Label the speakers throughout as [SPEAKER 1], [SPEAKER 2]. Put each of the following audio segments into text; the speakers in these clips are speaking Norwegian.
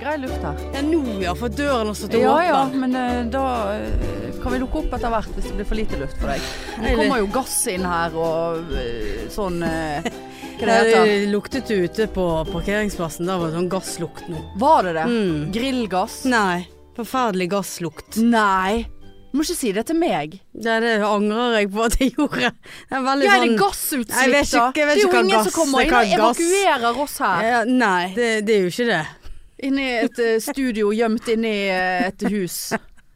[SPEAKER 1] grei luft her.
[SPEAKER 2] Ja, nå ja, for døren har stått
[SPEAKER 1] Ja
[SPEAKER 2] åpen.
[SPEAKER 1] ja, men eh, da eh, kan vi lukke opp etter hvert hvis det blir for lite luft for deg. Det
[SPEAKER 2] Eller-
[SPEAKER 1] kommer jo gass inn her og eh, sånn eh, Hva det
[SPEAKER 2] Det
[SPEAKER 1] heter
[SPEAKER 2] luktet jo ute på parkeringsplassen. Da var det sånn gasslukt nå.
[SPEAKER 1] Var det det?
[SPEAKER 2] Mm.
[SPEAKER 1] Grillgass?
[SPEAKER 2] Nei. Forferdelig gasslukt.
[SPEAKER 1] Nei. Du må ikke si det til meg.
[SPEAKER 2] Det, det angrer jeg på at jeg gjorde. Det er veldig
[SPEAKER 1] Ja, er det
[SPEAKER 2] sånn
[SPEAKER 1] gassutslipp,
[SPEAKER 2] Jeg vet
[SPEAKER 1] da?
[SPEAKER 2] ikke- jeg vet
[SPEAKER 1] det
[SPEAKER 2] ikke
[SPEAKER 1] er jo
[SPEAKER 2] hva
[SPEAKER 1] ingen
[SPEAKER 2] gass-
[SPEAKER 1] som kommer inn
[SPEAKER 2] hva
[SPEAKER 1] og
[SPEAKER 2] gass-
[SPEAKER 1] evakuerer oss her.
[SPEAKER 2] Ja, nei, det, det er jo ikke det.
[SPEAKER 1] Inni et eh, studio gjemt inni eh, et hus.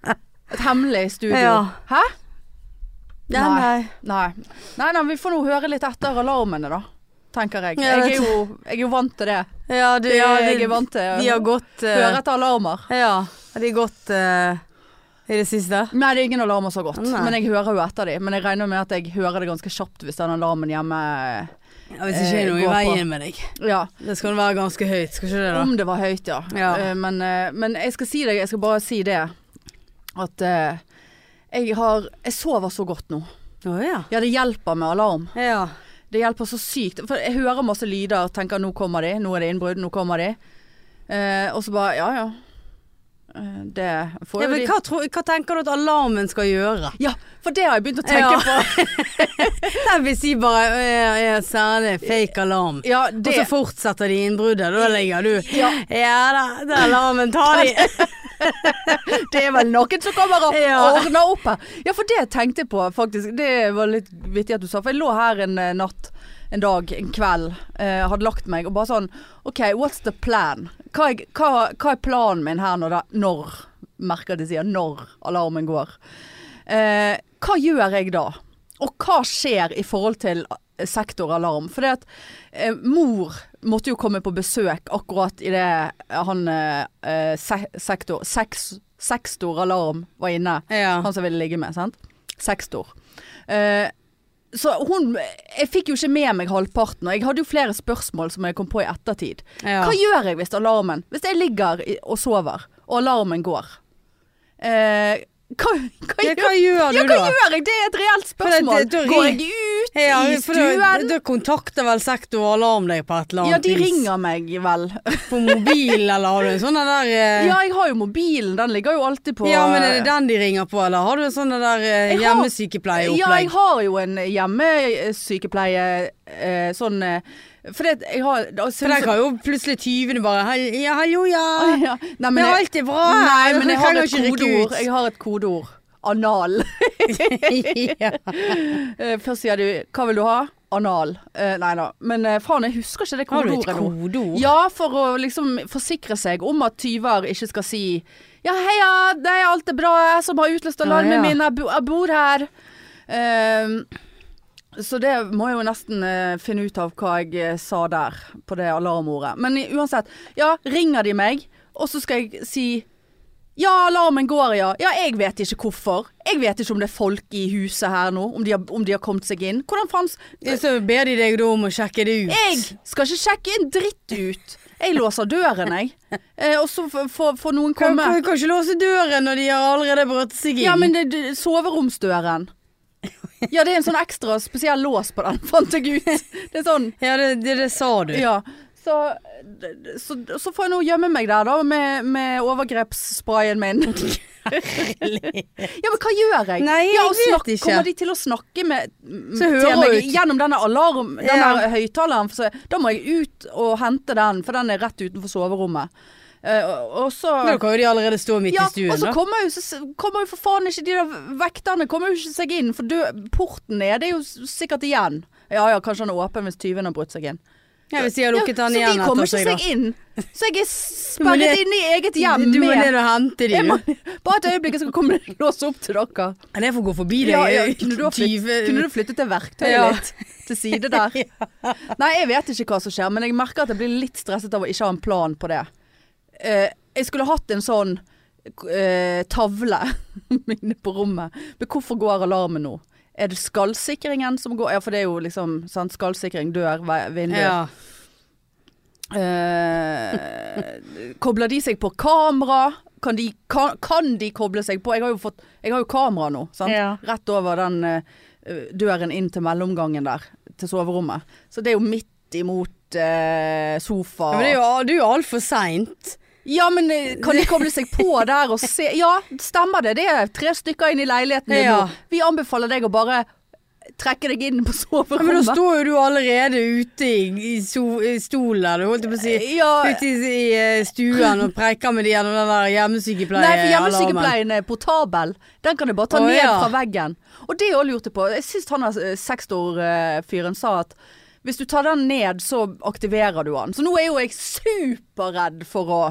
[SPEAKER 1] Et hemmelig studio.
[SPEAKER 2] Ja.
[SPEAKER 1] Hæ?
[SPEAKER 2] Ja,
[SPEAKER 1] Nei. Nei. nei. Nei, vi får nå høre litt etter alarmene, da. Tenker jeg.
[SPEAKER 2] Ja,
[SPEAKER 1] Jeg
[SPEAKER 2] vet
[SPEAKER 1] er jo, jeg er jo vant til det.
[SPEAKER 2] Ja, du,
[SPEAKER 1] det
[SPEAKER 2] ja,
[SPEAKER 1] jeg
[SPEAKER 2] de,
[SPEAKER 1] er vant til å
[SPEAKER 2] de har gått
[SPEAKER 1] høre
[SPEAKER 2] eh,
[SPEAKER 1] etter alarmer.
[SPEAKER 2] Ja, har de gått eh, i det siste?
[SPEAKER 1] Nei, det er ingen alarmer som har gått.
[SPEAKER 2] Nei.
[SPEAKER 1] Men jeg hører jo etter de. Men jeg regner med at jeg hører det ganske kjapt hvis den alarmen hjemme
[SPEAKER 2] Ja, hvis ikke er det noe
[SPEAKER 1] Eh,
[SPEAKER 2] i
[SPEAKER 1] gå på.
[SPEAKER 2] veien med deg.
[SPEAKER 1] Ja.
[SPEAKER 2] Det skal være ganske høyt, skal ikke det da?
[SPEAKER 1] Om det var høyt, ja.
[SPEAKER 2] Ja.
[SPEAKER 1] Eh, Men, eh, men jeg skal si deg, jeg skal bare si det. At eh, jeg har Jeg sover så godt nå.
[SPEAKER 2] Å ja.
[SPEAKER 1] Ja, det hjelper med alarm.
[SPEAKER 2] ja.
[SPEAKER 1] Det hjelper så sykt. For jeg hører masse lyder, tenker nå kommer de, nå er det innbrudd, nå kommer de. Eh, og så bare ja ja. Eh, det
[SPEAKER 2] ja
[SPEAKER 1] får jo
[SPEAKER 2] men
[SPEAKER 1] de.
[SPEAKER 2] hva, tro, hva tenker du at alarmen skal gjøre?
[SPEAKER 1] Ja, for det har jeg begynt å tenke
[SPEAKER 2] Ja.
[SPEAKER 1] på.
[SPEAKER 2] Nei, hvis de bare øh, øh, sender fake alarm,
[SPEAKER 1] Ja,
[SPEAKER 2] og
[SPEAKER 1] det
[SPEAKER 2] så fortsetter de innbruddet, da ligger du
[SPEAKER 1] Ja.
[SPEAKER 2] ja da, den alarmen tar de.
[SPEAKER 1] Det er vel noen som kommer og
[SPEAKER 2] Ja.
[SPEAKER 1] og ordner opp her. Ja, for det tenkte jeg på, faktisk. Det var litt vittig at du sa. For jeg lå her en eh, natt, en dag, en kveld. Eh, hadde lagt meg og bare sånn OK, what's the plan? Hva er, hva, hva er planen min her når, det, når merker de sier når alarmen går? Eh, hva gjør jeg da? Og hva skjer i forhold til eh, sektoralarm? For det at eh, mor måtte jo komme på besøk akkurat idet han eh, eh, se sektor, seks, sektoralarm var inne.
[SPEAKER 2] Ja.
[SPEAKER 1] Han som ville ligge med, sant? Sekstor. Eh, så hun Jeg fikk jo ikke med meg halvparten, og jeg hadde jo flere spørsmål som jeg kom på i ettertid.
[SPEAKER 2] Ja.
[SPEAKER 1] Hva gjør jeg hvis alarmen Hvis jeg ligger i- og sover, og alarmen går? Eh, hva, hva,
[SPEAKER 2] Ja,
[SPEAKER 1] gjør,
[SPEAKER 2] hva gjør du
[SPEAKER 1] ja, hva
[SPEAKER 2] da?
[SPEAKER 1] gjør jeg? Det er et reelt spørsmål.
[SPEAKER 2] det- da
[SPEAKER 1] Går
[SPEAKER 2] ring-
[SPEAKER 1] jeg ut
[SPEAKER 2] Ja,
[SPEAKER 1] i
[SPEAKER 2] for da,
[SPEAKER 1] stuen?
[SPEAKER 2] da kontakter vel sektor alarm deg på et eller
[SPEAKER 1] Ja,
[SPEAKER 2] annet
[SPEAKER 1] de
[SPEAKER 2] vis.
[SPEAKER 1] ringer meg vel.
[SPEAKER 2] På mobil, eller har du en sånn der eh,
[SPEAKER 1] Ja, jeg har jo mobilen. Den ligger jo alltid på eh,
[SPEAKER 2] ja, men er det den de ringer på, eller har du en sånn der eh,
[SPEAKER 1] Jeg har- Ja, jeg
[SPEAKER 2] hjemmesykepleieopplegg?
[SPEAKER 1] har jo en hjemmesykepleie eh, sånn eh, For det jeg har
[SPEAKER 2] For der kan jo plutselig tyvene bare hel, Ja, hallo, ja.
[SPEAKER 1] ja. Nei, men
[SPEAKER 2] Det er
[SPEAKER 1] jeg,
[SPEAKER 2] alltid bra.
[SPEAKER 1] nei, men jeg har
[SPEAKER 2] kan jo
[SPEAKER 1] et
[SPEAKER 2] ikke rykke
[SPEAKER 1] kodeord.
[SPEAKER 2] ut.
[SPEAKER 1] Jeg har et kodeord. Anal.
[SPEAKER 2] ja.
[SPEAKER 1] Eh, Først sier du 'hva vil du ha?' Anal. Eh, Nei da. Men eh, faen, jeg husker ikke det
[SPEAKER 2] Har du
[SPEAKER 1] kodeordet
[SPEAKER 2] et
[SPEAKER 1] nå.
[SPEAKER 2] kodeord?
[SPEAKER 1] Ja, for å liksom forsikre seg om at tyver ikke skal si Ja, heia, det er alt er bra, jeg som har utløst alarmen
[SPEAKER 2] Ja, ja.
[SPEAKER 1] min, jeg, bo, jeg bor her. Ehm, så det må jeg jo nesten eh, finne ut av hva jeg eh, sa der, på det alarmordet. Men i- uansett, ja, ringer de meg, og så skal jeg si ja, alarmen går, ja. Ja, jeg vet ikke hvorfor. Jeg vet ikke om det er folk i huset her nå, om de har, om de har kommet seg inn. Hvordan fanns
[SPEAKER 2] Så ber de deg da om å sjekke det ut.
[SPEAKER 1] jeg skal ikke sjekke en dritt ut. Jeg låser døren, jeg. Eh, og så f- får får noen
[SPEAKER 2] Kan, kan,
[SPEAKER 1] komme.
[SPEAKER 2] kan ikke låse døren når de har allerede brutt seg inn.
[SPEAKER 1] Ja, men det, det, soveromsdøren. Ja, det er en sånn ekstra spesiell lås på den, fant jeg ut. Det er sånn,
[SPEAKER 2] Ja, det, det, det sa du.
[SPEAKER 1] ja. Så, så, så får jeg nå gjemme meg der, da, med, med overgrepssprayen min. Ja, men hva gjør jeg?
[SPEAKER 2] Nei,
[SPEAKER 1] ja,
[SPEAKER 2] jeg
[SPEAKER 1] og
[SPEAKER 2] vet ikke.
[SPEAKER 1] Kommer de til å snakke med
[SPEAKER 2] Så hører
[SPEAKER 1] til meg
[SPEAKER 2] ut.
[SPEAKER 1] gjennom denne alarm, den
[SPEAKER 2] Ja.
[SPEAKER 1] der høyttaleren? for så- Da må jeg ut og hente den, for den er rett utenfor soverommet. Eh, og, og så
[SPEAKER 2] Da kan jo de allerede stå midt
[SPEAKER 1] ja,
[SPEAKER 2] i stuen,
[SPEAKER 1] og så
[SPEAKER 2] da.
[SPEAKER 1] kommer jo, så kommer jo for faen ikke de der vekterne kommer jo ikke seg inn, for dø, porten er det er jo s- sikkert igjen. Ja ja, kanskje han er åpen hvis tyven har brutt seg inn.
[SPEAKER 2] Ja, hvis de har lukket
[SPEAKER 1] ja,
[SPEAKER 2] den
[SPEAKER 1] så
[SPEAKER 2] igjen
[SPEAKER 1] de kommer
[SPEAKER 2] etter seg, da.
[SPEAKER 1] ikke seg inn. Så jeg er
[SPEAKER 2] Du må ned-
[SPEAKER 1] sperret inne i eget hjem
[SPEAKER 2] Du må
[SPEAKER 1] med
[SPEAKER 2] ned og hente de,
[SPEAKER 1] jeg må,
[SPEAKER 2] du.
[SPEAKER 1] Bare et øyeblikk, jeg skal komme og låse opp til dere.
[SPEAKER 2] Men jeg får gå forbi deg.
[SPEAKER 1] Ja, ja. Kunne, du ha flytt,
[SPEAKER 2] Tyve-
[SPEAKER 1] kunne du flyttet det verktøyet
[SPEAKER 2] Ja.
[SPEAKER 1] litt til side der? Nei, jeg vet ikke hva som skjer, men jeg merker at jeg blir litt stresset av å ikke ha en plan på det. Eh, jeg skulle hatt en sånn eh, tavle inne på rommet. Men hvorfor går alarmen nå? Er det skallsikringen som går? Ja, for det er jo liksom sant? skallsikring, dør, ve- vindu.
[SPEAKER 2] ja.
[SPEAKER 1] Eh, kobler de seg på kamera? Kan de, kan, kan de koble seg på? Jeg har jo, fått, jeg har jo kamera nå, sant?
[SPEAKER 2] Ja.
[SPEAKER 1] Rett over den eh, døren inn til mellomgangen der, til soverommet. Så det er jo midt imot eh, sofa.
[SPEAKER 2] Ja, Men det er jo, du er jo altfor seint.
[SPEAKER 1] Ja, men eh, kan de koble seg på der og se Ja, stemmer det. Det er tre stykker inn i leiligheten din
[SPEAKER 2] Ja.
[SPEAKER 1] nå. Vi anbefaler deg å bare trekke deg inn på
[SPEAKER 2] Ja, men da
[SPEAKER 1] soverommet.
[SPEAKER 2] står jo du allerede ute i, i, so, i stolen, eller holdt jeg på å si.
[SPEAKER 1] ja,
[SPEAKER 2] Ute i, i eh, stuen og preker med de gjennom den der hjemmesykepleie...
[SPEAKER 1] Nei, for hjemmesykepleien er portabel. Den kan du bare ta
[SPEAKER 2] Å,
[SPEAKER 1] ned
[SPEAKER 2] ja.
[SPEAKER 1] fra veggen. Og det jeg lurte på, jeg syns han sekstor-fyren sa at hvis du tar den ned, så aktiverer du han. Så nå er jo jeg superredd for å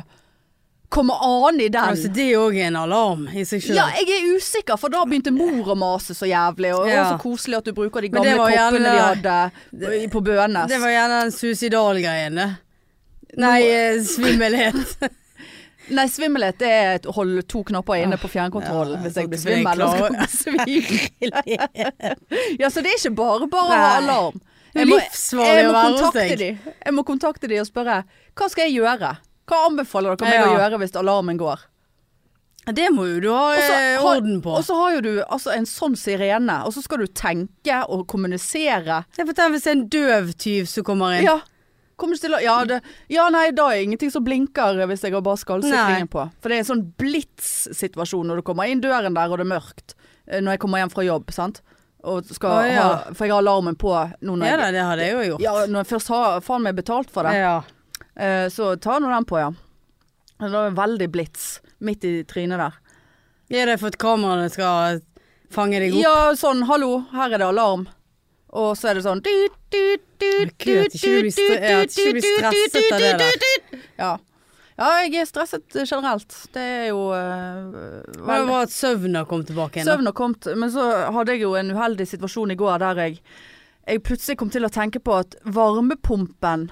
[SPEAKER 1] komme an i den.
[SPEAKER 2] Altså, det er jo også en alarm i seg selv.
[SPEAKER 1] Ja, jeg er usikker, for da begynte mor å mase så jævlig. Og det var
[SPEAKER 2] Ja.
[SPEAKER 1] så koselig at du bruker de
[SPEAKER 2] Men
[SPEAKER 1] gamle
[SPEAKER 2] det var
[SPEAKER 1] koppene de
[SPEAKER 2] gjerne-
[SPEAKER 1] hadde i- på Bønes.
[SPEAKER 2] det var gjerne den suicidal-greien, det. Nei, eh, svimmelhet.
[SPEAKER 1] Nei, svimmelhet det er et hold to knapper inne på fjernkontrollen
[SPEAKER 2] Ja,
[SPEAKER 1] hvis
[SPEAKER 2] sånn
[SPEAKER 1] jeg blir
[SPEAKER 2] at vi er
[SPEAKER 1] svimmel. Og skal
[SPEAKER 2] klar.
[SPEAKER 1] besvime. ja, så det er ikke bare bare å ha
[SPEAKER 2] Nei.
[SPEAKER 1] alarm.
[SPEAKER 2] Det er
[SPEAKER 1] må,
[SPEAKER 2] livsfarlig
[SPEAKER 1] jeg, må
[SPEAKER 2] å være hos
[SPEAKER 1] kontakte
[SPEAKER 2] deg.
[SPEAKER 1] de. jeg må kontakte de og spørre hva skal jeg gjøre? Hva anbefaler dere meg
[SPEAKER 2] Ja.
[SPEAKER 1] å gjøre hvis alarmen går?
[SPEAKER 2] Det må jo du ha
[SPEAKER 1] Og så
[SPEAKER 2] eh,
[SPEAKER 1] har-
[SPEAKER 2] orden på.
[SPEAKER 1] Og så har jo du altså, en sånn sirene, og så skal du tenke og kommunisere.
[SPEAKER 2] Jeg forteller hvis det er en døv tyv som kommer inn.
[SPEAKER 1] Ja. Kommer ikke til å ja, det, ja, nei, da er ingenting som blinker hvis jeg har bare skallsikringen
[SPEAKER 2] Nei.
[SPEAKER 1] på. For det er en sånn blitz-situasjon når du kommer inn døren der og det er mørkt. eh, Når jeg kommer hjem fra jobb, sant. Og skal
[SPEAKER 2] Å, ja.
[SPEAKER 1] ha, for jeg har alarmen på nå når
[SPEAKER 2] Ja
[SPEAKER 1] jeg
[SPEAKER 2] da, det hadde jeg jo gjort.
[SPEAKER 1] ja, når jeg først har faen meg betalt for det,
[SPEAKER 2] Ja.
[SPEAKER 1] eh, så ta nå den på, ja. Det var en veldig blitz midt i trynet der.
[SPEAKER 2] Er det for at kameraene skal fange deg opp?
[SPEAKER 1] Ja, sånn hallo, her er det alarm. Og så er det sånn dut, dut, dut,
[SPEAKER 2] Gud, at ikke du blir stre- ja, at ikke du blir stresset av det der.
[SPEAKER 1] Ja. ja, jeg er stresset generelt. Det er jo eh,
[SPEAKER 2] Det var
[SPEAKER 1] vel-
[SPEAKER 2] jo bra at søvna kom tilbake igjen. da.
[SPEAKER 1] Søvn har kommet, men så hadde jeg jo en uheldig situasjon i går der jeg, jeg plutselig kom til å tenke på at varmepumpen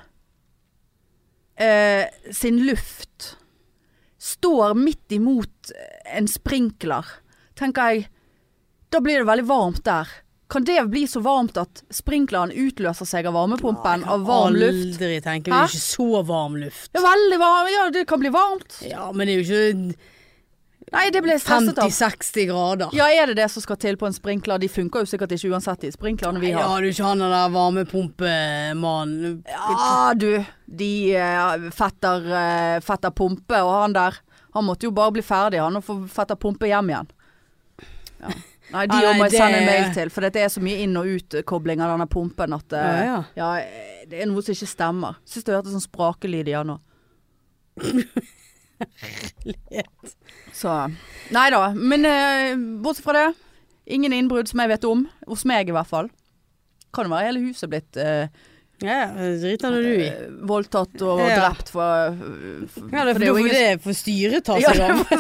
[SPEAKER 1] eh, sin luft står midt imot en sprinkler. Tenker jeg, da blir det veldig varmt der. Kan det bli så varmt at sprinkleren utløser seg av varmepumpen av varm luft?
[SPEAKER 2] Aldri tenker vi
[SPEAKER 1] Hæ?
[SPEAKER 2] ikke så varm luft.
[SPEAKER 1] Det er veldig varmt, ja det kan bli varmt.
[SPEAKER 2] Ja, men det er jo ikke
[SPEAKER 1] Nei, det ble jeg stresset av.
[SPEAKER 2] 50-60 grader.
[SPEAKER 1] Ja, er det det som skal til på en sprinkler? De funker jo sikkert ikke uansett, de sprinklerne vi
[SPEAKER 2] Ja,
[SPEAKER 1] har.
[SPEAKER 2] du er ikke han den der varmepumpemannen.
[SPEAKER 1] Ja du, de eh, fetter, eh, fetter Pumpe og han der Han måtte jo bare bli ferdig han og få fetter Pumpe hjem igjen. Ja. Nei, de
[SPEAKER 2] Ja,
[SPEAKER 1] òg
[SPEAKER 2] nei,
[SPEAKER 1] må jeg
[SPEAKER 2] det-
[SPEAKER 1] sende en mail til, for det er så mye inn- og utkobling av denne pumpen at eh,
[SPEAKER 2] Ja,
[SPEAKER 1] ja, eh, det er noe som ikke stemmer. Syns du hørte sånn sprakelyd i han nå. Så Nei da. Men eh, bortsett fra det, ingen innbrudd som jeg vet om. Hos meg i hvert fall. Kan jo være hele huset blitt eh,
[SPEAKER 2] Ja, driter nå du i.
[SPEAKER 1] eh, voldtatt og
[SPEAKER 2] Ja.
[SPEAKER 1] drept for,
[SPEAKER 2] Ja, det er for, jo ingen... det er for styret tar
[SPEAKER 1] ja,
[SPEAKER 2] seg av.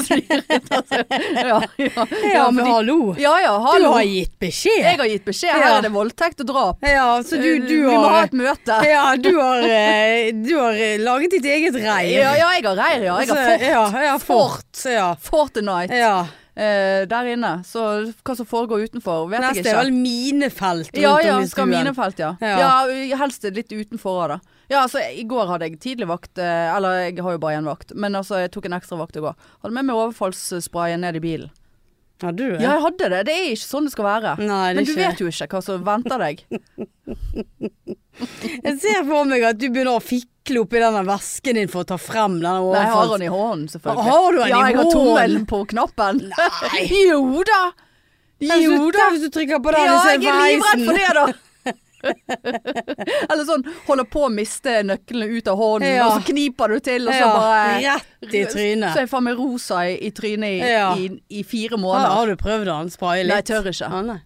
[SPEAKER 1] ja, ja,
[SPEAKER 2] Ja, men
[SPEAKER 1] fordi-
[SPEAKER 2] hallo.
[SPEAKER 1] ja, ja,
[SPEAKER 2] Du
[SPEAKER 1] hallo.
[SPEAKER 2] har gitt
[SPEAKER 1] Jeg
[SPEAKER 2] beskjed.
[SPEAKER 1] har gitt beskjed. Her
[SPEAKER 2] Ja.
[SPEAKER 1] er det voldtekt og drap. Eh,
[SPEAKER 2] Ja, så du, du
[SPEAKER 1] Vi må ha
[SPEAKER 2] har
[SPEAKER 1] et møte.
[SPEAKER 2] ja, du har, eh, du har eh, laget ditt eget reir.
[SPEAKER 1] Ja, ja, jeg har reir, ja. Jeg har fort,
[SPEAKER 2] Ja, ja, fort. Ja.
[SPEAKER 1] Fortnite
[SPEAKER 2] ja.
[SPEAKER 1] eh, der inne. Så hva som foregår utenfor, vet jeg
[SPEAKER 2] Neste
[SPEAKER 1] ikke.
[SPEAKER 2] er vel minefelt rundt
[SPEAKER 1] Ja, ja,
[SPEAKER 2] om i
[SPEAKER 1] skal
[SPEAKER 2] stuen.
[SPEAKER 1] minefelt, ja. ja.
[SPEAKER 2] Ja.
[SPEAKER 1] helst litt utenfor da. Ja, altså i går hadde jeg tidligvakt, eh, eller jeg har jo bare én vakt, men altså jeg tok en ekstra vakt i går. Hadde med meg overfallssprayen ned i bilen.
[SPEAKER 2] Har du det?
[SPEAKER 1] Ja, jeg hadde det. Det er ikke sånn det skal være.
[SPEAKER 2] Nei, det er
[SPEAKER 1] men du
[SPEAKER 2] ikke.
[SPEAKER 1] vet jo ikke hva som venter deg.
[SPEAKER 2] Jeg ser for meg at du begynner å fikle oppi denne vesken din for å ta frem denne
[SPEAKER 1] Nei, jeg har
[SPEAKER 2] overfalls...
[SPEAKER 1] den i hånden, selvfølgelig.
[SPEAKER 2] Har du den i
[SPEAKER 1] Ja, jeg har
[SPEAKER 2] hånden?
[SPEAKER 1] tommelen på knappen. Nei. jo da. Jo da.
[SPEAKER 2] Hvis du trykker på den,
[SPEAKER 1] Ja,
[SPEAKER 2] så
[SPEAKER 1] jeg er livredd for
[SPEAKER 2] veisen.
[SPEAKER 1] det, da. Eller sånn holder på å miste nøklene ut av hånden,
[SPEAKER 2] Ja.
[SPEAKER 1] og så kniper du til, og så
[SPEAKER 2] Ja,
[SPEAKER 1] bare
[SPEAKER 2] Rett i
[SPEAKER 1] Så
[SPEAKER 2] trynet.
[SPEAKER 1] er jeg faen meg rosa i, i trynet i,
[SPEAKER 2] Ja.
[SPEAKER 1] i, i fire
[SPEAKER 2] Har,
[SPEAKER 1] måneder.
[SPEAKER 2] har du prøvd den? Spraye
[SPEAKER 1] Nei, jeg
[SPEAKER 2] litt?
[SPEAKER 1] tør ikke.
[SPEAKER 2] Ah, nei.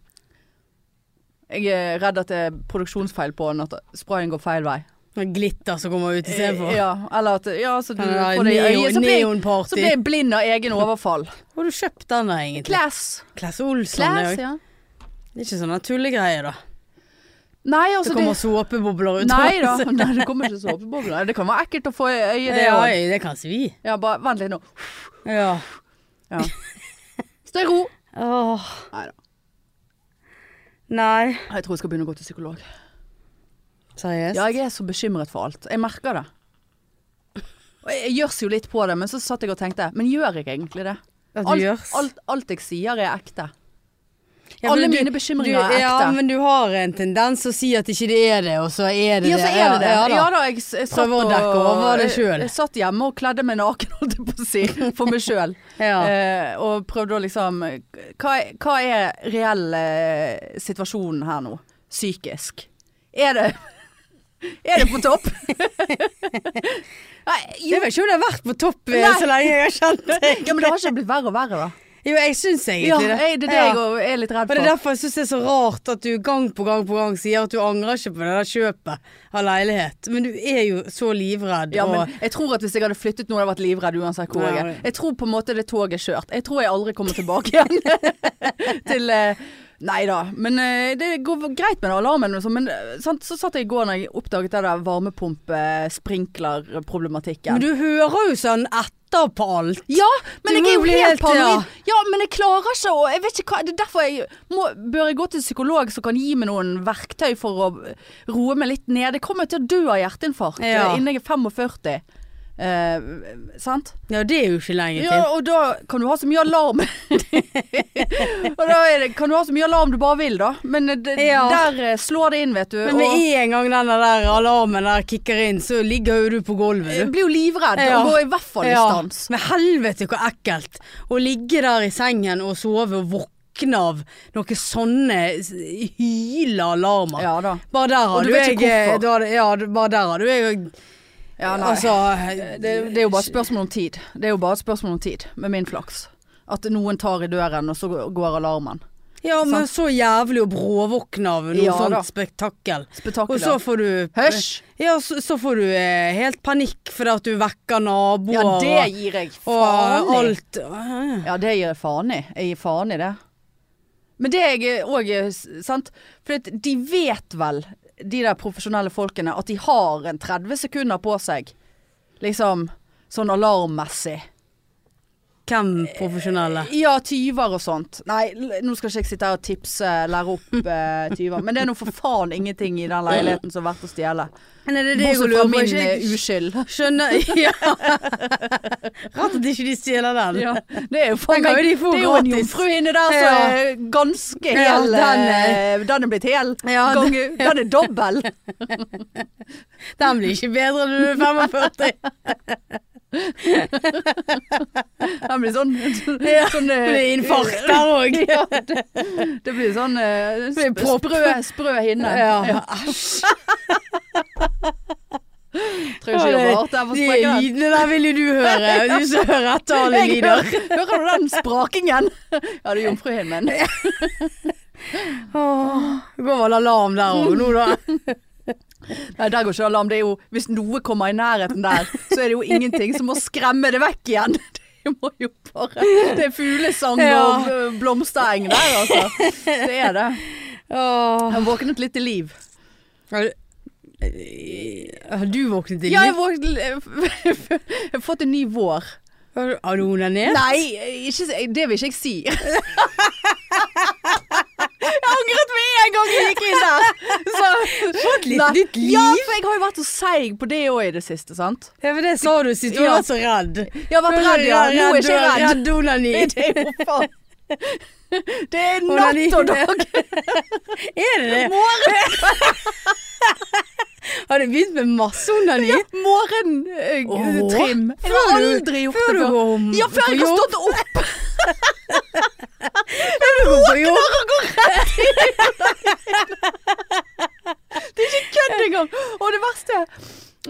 [SPEAKER 1] Jeg er redd at det er produksjonsfeil på den, at sprayen går feil vei.
[SPEAKER 2] Med glitter som kommer ut istedenfor.
[SPEAKER 1] Ja, eller at ja, så du
[SPEAKER 2] Den der
[SPEAKER 1] får det i øyet. Så
[SPEAKER 2] neon-
[SPEAKER 1] blir jeg- så
[SPEAKER 2] Neonparty.
[SPEAKER 1] blir jeg blind av egen
[SPEAKER 2] Sånn
[SPEAKER 1] overfall.
[SPEAKER 2] Hvor har du kjøpt den da, egentlig?
[SPEAKER 1] Class.
[SPEAKER 2] Claes Olsson.
[SPEAKER 1] Class,
[SPEAKER 2] det Sånn er jo-
[SPEAKER 1] ja.
[SPEAKER 2] Det er ikke sånne tullegreier, da.
[SPEAKER 1] Nei, altså
[SPEAKER 2] det kommer
[SPEAKER 1] det,
[SPEAKER 2] såpebobler ut
[SPEAKER 1] Nei da. Nei, det kommer ikke såpebobler. Det kan være ekkelt å få i øyet,
[SPEAKER 2] Ja,
[SPEAKER 1] det
[SPEAKER 2] ja,
[SPEAKER 1] òg.
[SPEAKER 2] det kan svi.
[SPEAKER 1] Ja, bare vent litt nå.
[SPEAKER 2] Ja.
[SPEAKER 1] Ja. Stå i ro.
[SPEAKER 2] Åh.
[SPEAKER 1] Nei da.
[SPEAKER 2] Nei.
[SPEAKER 1] Jeg tror jeg skal begynne å gå til psykolog.
[SPEAKER 2] Seriøst?
[SPEAKER 1] Ja, jeg er så bekymret for alt. Jeg merker det. Og jeg jeg gjørs jo litt på det, men så satt jeg og tenkte Men gjør jeg egentlig det?
[SPEAKER 2] At du
[SPEAKER 1] Alt,
[SPEAKER 2] gjørs?
[SPEAKER 1] alt, alt jeg sier er ekte.
[SPEAKER 2] Ja, for
[SPEAKER 1] Alle
[SPEAKER 2] du-
[SPEAKER 1] mine bekymringer er ekte.
[SPEAKER 2] Ja, men du har en tendens å si at ikke det er det, og så er det
[SPEAKER 1] Ja,
[SPEAKER 2] det.
[SPEAKER 1] så er det det.
[SPEAKER 2] Ja, ja da.
[SPEAKER 1] Ja da, jeg, s- jeg, satt
[SPEAKER 2] Prøver å dekke
[SPEAKER 1] og-
[SPEAKER 2] over det
[SPEAKER 1] jeg,
[SPEAKER 2] selv.
[SPEAKER 1] jeg satt hjemme og kledde meg naken, holdt jeg på å si, for meg sjøl.
[SPEAKER 2] Ja.
[SPEAKER 1] Eh, og prøvde å liksom Hva, er- hva er reell eh, situasjonen her nå? Psykisk. Er det Er det på topp? Nei, jo,
[SPEAKER 2] Jeg vet ikke om det har vært på topp eh,
[SPEAKER 1] Nei.
[SPEAKER 2] så lenge jeg har kjent deg.
[SPEAKER 1] ja, men det har ikke blitt verre og verre, da.
[SPEAKER 2] Jo, jeg syns
[SPEAKER 1] Ja,
[SPEAKER 2] egentlig det.
[SPEAKER 1] jeg, det er det
[SPEAKER 2] Ja.
[SPEAKER 1] jeg og- er litt redd
[SPEAKER 2] Og det er
[SPEAKER 1] for.
[SPEAKER 2] derfor jeg syns det er så rart at du gang på gang på gang sier at du angrer ikke på det der kjøpet av leilighet. Men du er jo så livredd.
[SPEAKER 1] Ja,
[SPEAKER 2] og
[SPEAKER 1] men jeg tror at hvis jeg hadde flyttet nå, hadde jeg vært livredd uansett hvor jeg
[SPEAKER 2] Ja,
[SPEAKER 1] er.
[SPEAKER 2] det-
[SPEAKER 1] Jeg tror på en måte det toget er kjørt. Jeg tror jeg aldri kommer tilbake igjen til eh, Nei da, men eh, det går greit med den alarmen. og sånn, Men eh, sant, så satt jeg i går når jeg oppdaget den der
[SPEAKER 2] Men
[SPEAKER 1] varmepumpe-sprinkler-problematikken.
[SPEAKER 2] du hører jo sånn etter på alt.
[SPEAKER 1] Ja, men
[SPEAKER 2] Du
[SPEAKER 1] jeg er
[SPEAKER 2] må
[SPEAKER 1] jo
[SPEAKER 2] bli helt,
[SPEAKER 1] helt, paranoid. Ja. men jeg klarer ikke å Jeg vet ikke hva Det er derfor jeg må, bør jeg gå til psykolog som kan gi meg noen verktøy for å roe meg litt ned. Jeg kommer til å dø av hjerteinfarkt eh,
[SPEAKER 2] Ja.
[SPEAKER 1] innen jeg er 45. Eh, sant?
[SPEAKER 2] Ja, det er jo ikke lenge til.
[SPEAKER 1] Ja, og da kan du ha så mye alarm Og da er det, kan du ha så mye alarm du bare vil da Men det,
[SPEAKER 2] Ja.
[SPEAKER 1] der eh, slår det inn, vet du
[SPEAKER 2] Men med
[SPEAKER 1] og
[SPEAKER 2] en gang den der alarmen der kicker inn, så ligger jo du på
[SPEAKER 1] jeg
[SPEAKER 2] gulvet, du.
[SPEAKER 1] blir jo livredd
[SPEAKER 2] Ja.
[SPEAKER 1] Og går i hvert fall i stans
[SPEAKER 2] Men helvete hvor ekkelt å ligge der i sengen og sove og våkne av noen sånne s- hyle alarmer.
[SPEAKER 1] Ja da
[SPEAKER 2] Bare der har
[SPEAKER 1] Og du
[SPEAKER 2] du,
[SPEAKER 1] vet
[SPEAKER 2] jeg
[SPEAKER 1] ikke hvorfor.
[SPEAKER 2] da, hadde- Ja, du- bare der har du jeg
[SPEAKER 1] ja, nei.
[SPEAKER 2] Altså
[SPEAKER 1] det, det er jo bare et spørsmål om tid Det er jo bare et spørsmål om tid Med min flaks At noen tar i døren og så går alarmen
[SPEAKER 2] Ja, men så jævlig å bråvåkne av noe
[SPEAKER 1] Ja, da.
[SPEAKER 2] sånt spektakel. Og
[SPEAKER 1] Spetakler
[SPEAKER 2] så får du
[SPEAKER 1] Høsj
[SPEAKER 2] Ja, så, så får du eh, helt panikk fordi at du vekker naboer
[SPEAKER 1] Ja det
[SPEAKER 2] og,
[SPEAKER 1] gir jeg faen
[SPEAKER 2] og
[SPEAKER 1] i
[SPEAKER 2] alt.
[SPEAKER 1] Ja, det gir jeg faen i. Jeg gir faen i det. Men det er jeg òg Sant? For at de vet vel, de der profesjonelle folkene, at de har en 30 sekunder på seg. Liksom sånn alarmmessig.
[SPEAKER 2] Hvem profesjonelle?
[SPEAKER 1] Ja, tyver og sånt. Nei, l- nå skal ikke jeg sitte her og tipse, lære opp eh, tyver. Men det er nå for faen ingenting i den leiligheten som er verdt å stjele.
[SPEAKER 2] Nei, det er det jeg
[SPEAKER 1] Bortsett fra
[SPEAKER 2] lurer på.
[SPEAKER 1] min
[SPEAKER 2] Ikke,
[SPEAKER 1] eh, uskyld.
[SPEAKER 2] skjønner ja. Rart at ikke de stjeler den.
[SPEAKER 1] Ja, det er jo
[SPEAKER 2] Den
[SPEAKER 1] faen
[SPEAKER 2] kan jo
[SPEAKER 1] meg
[SPEAKER 2] de få
[SPEAKER 1] Det er jo en
[SPEAKER 2] gratis.
[SPEAKER 1] jomfruhinne der som
[SPEAKER 2] Ja.
[SPEAKER 1] er ganske
[SPEAKER 2] Ja,
[SPEAKER 1] hel.
[SPEAKER 2] den
[SPEAKER 1] eh, den er blitt hel.
[SPEAKER 2] Ja,
[SPEAKER 1] Gange- den er dobbel.
[SPEAKER 2] Den blir ikke bedre når du er 45.
[SPEAKER 1] Den blir sånn,
[SPEAKER 2] Ja,
[SPEAKER 1] sånn eh,
[SPEAKER 2] Det blir infarkt der òg.
[SPEAKER 1] Ja, det, det blir sånn eh,
[SPEAKER 2] blir
[SPEAKER 1] sp-
[SPEAKER 2] propp.
[SPEAKER 1] sprø, sprø hinne.
[SPEAKER 2] Ja.
[SPEAKER 1] Tror ikke det var rart. Jeg må
[SPEAKER 2] De
[SPEAKER 1] sprekke den.
[SPEAKER 2] lydene der vil jo du høre. Du som hører etter alle
[SPEAKER 1] Jeg
[SPEAKER 2] lyder.
[SPEAKER 1] hører, hører du den sprakingen? Ja, det er jomfruhinnen.
[SPEAKER 2] Det går vel alarm der òg nå, da.
[SPEAKER 1] Nei, der går ikke alarm. Det er jo, hvis noe kommer i nærheten der, så er det jo ingenting som må skremme det vekk igjen. Det må jo bare Det er fuglesang
[SPEAKER 2] Ja.
[SPEAKER 1] og øh, blomstereng der, altså. Det er det.
[SPEAKER 2] Åh.
[SPEAKER 1] Han våknet litt til liv.
[SPEAKER 2] Har du- har du våknet i
[SPEAKER 1] Ja, jeg
[SPEAKER 2] liv?
[SPEAKER 1] våknet Jeg har fått en ny vår.
[SPEAKER 2] Har du- Har du onanert?
[SPEAKER 1] Nei, ikke, si- det vil ikke jeg si. Jeg angret med en gang jeg gikk inn der. Så,
[SPEAKER 2] Fått litt
[SPEAKER 1] Nei.
[SPEAKER 2] nytt liv?
[SPEAKER 1] Ja, for jeg har jo vært så seig på det òg i det siste, sant.
[SPEAKER 2] Ja, men det sa du sist. Du
[SPEAKER 1] Ja.
[SPEAKER 2] var så redd.
[SPEAKER 1] Jeg har vært redd, ja. Nå er jeg ikke jeg redd.
[SPEAKER 2] Redd onani.
[SPEAKER 1] Det er jo faen Det er
[SPEAKER 2] Onani.
[SPEAKER 1] natt og dag.
[SPEAKER 2] Er det det?
[SPEAKER 1] Morgen,
[SPEAKER 2] Har du begynt med masse onani?
[SPEAKER 1] morgen eh,
[SPEAKER 2] Åh.
[SPEAKER 1] trim. Jeg
[SPEAKER 2] Før
[SPEAKER 1] har
[SPEAKER 2] du-
[SPEAKER 1] aldri gjort
[SPEAKER 2] før
[SPEAKER 1] det
[SPEAKER 2] du
[SPEAKER 1] før.
[SPEAKER 2] går om-
[SPEAKER 1] Ja, før
[SPEAKER 2] på
[SPEAKER 1] jeg har
[SPEAKER 2] jobb.
[SPEAKER 1] stått opp.
[SPEAKER 2] På jobb?
[SPEAKER 1] Det er ikke kødd engang. Og det verste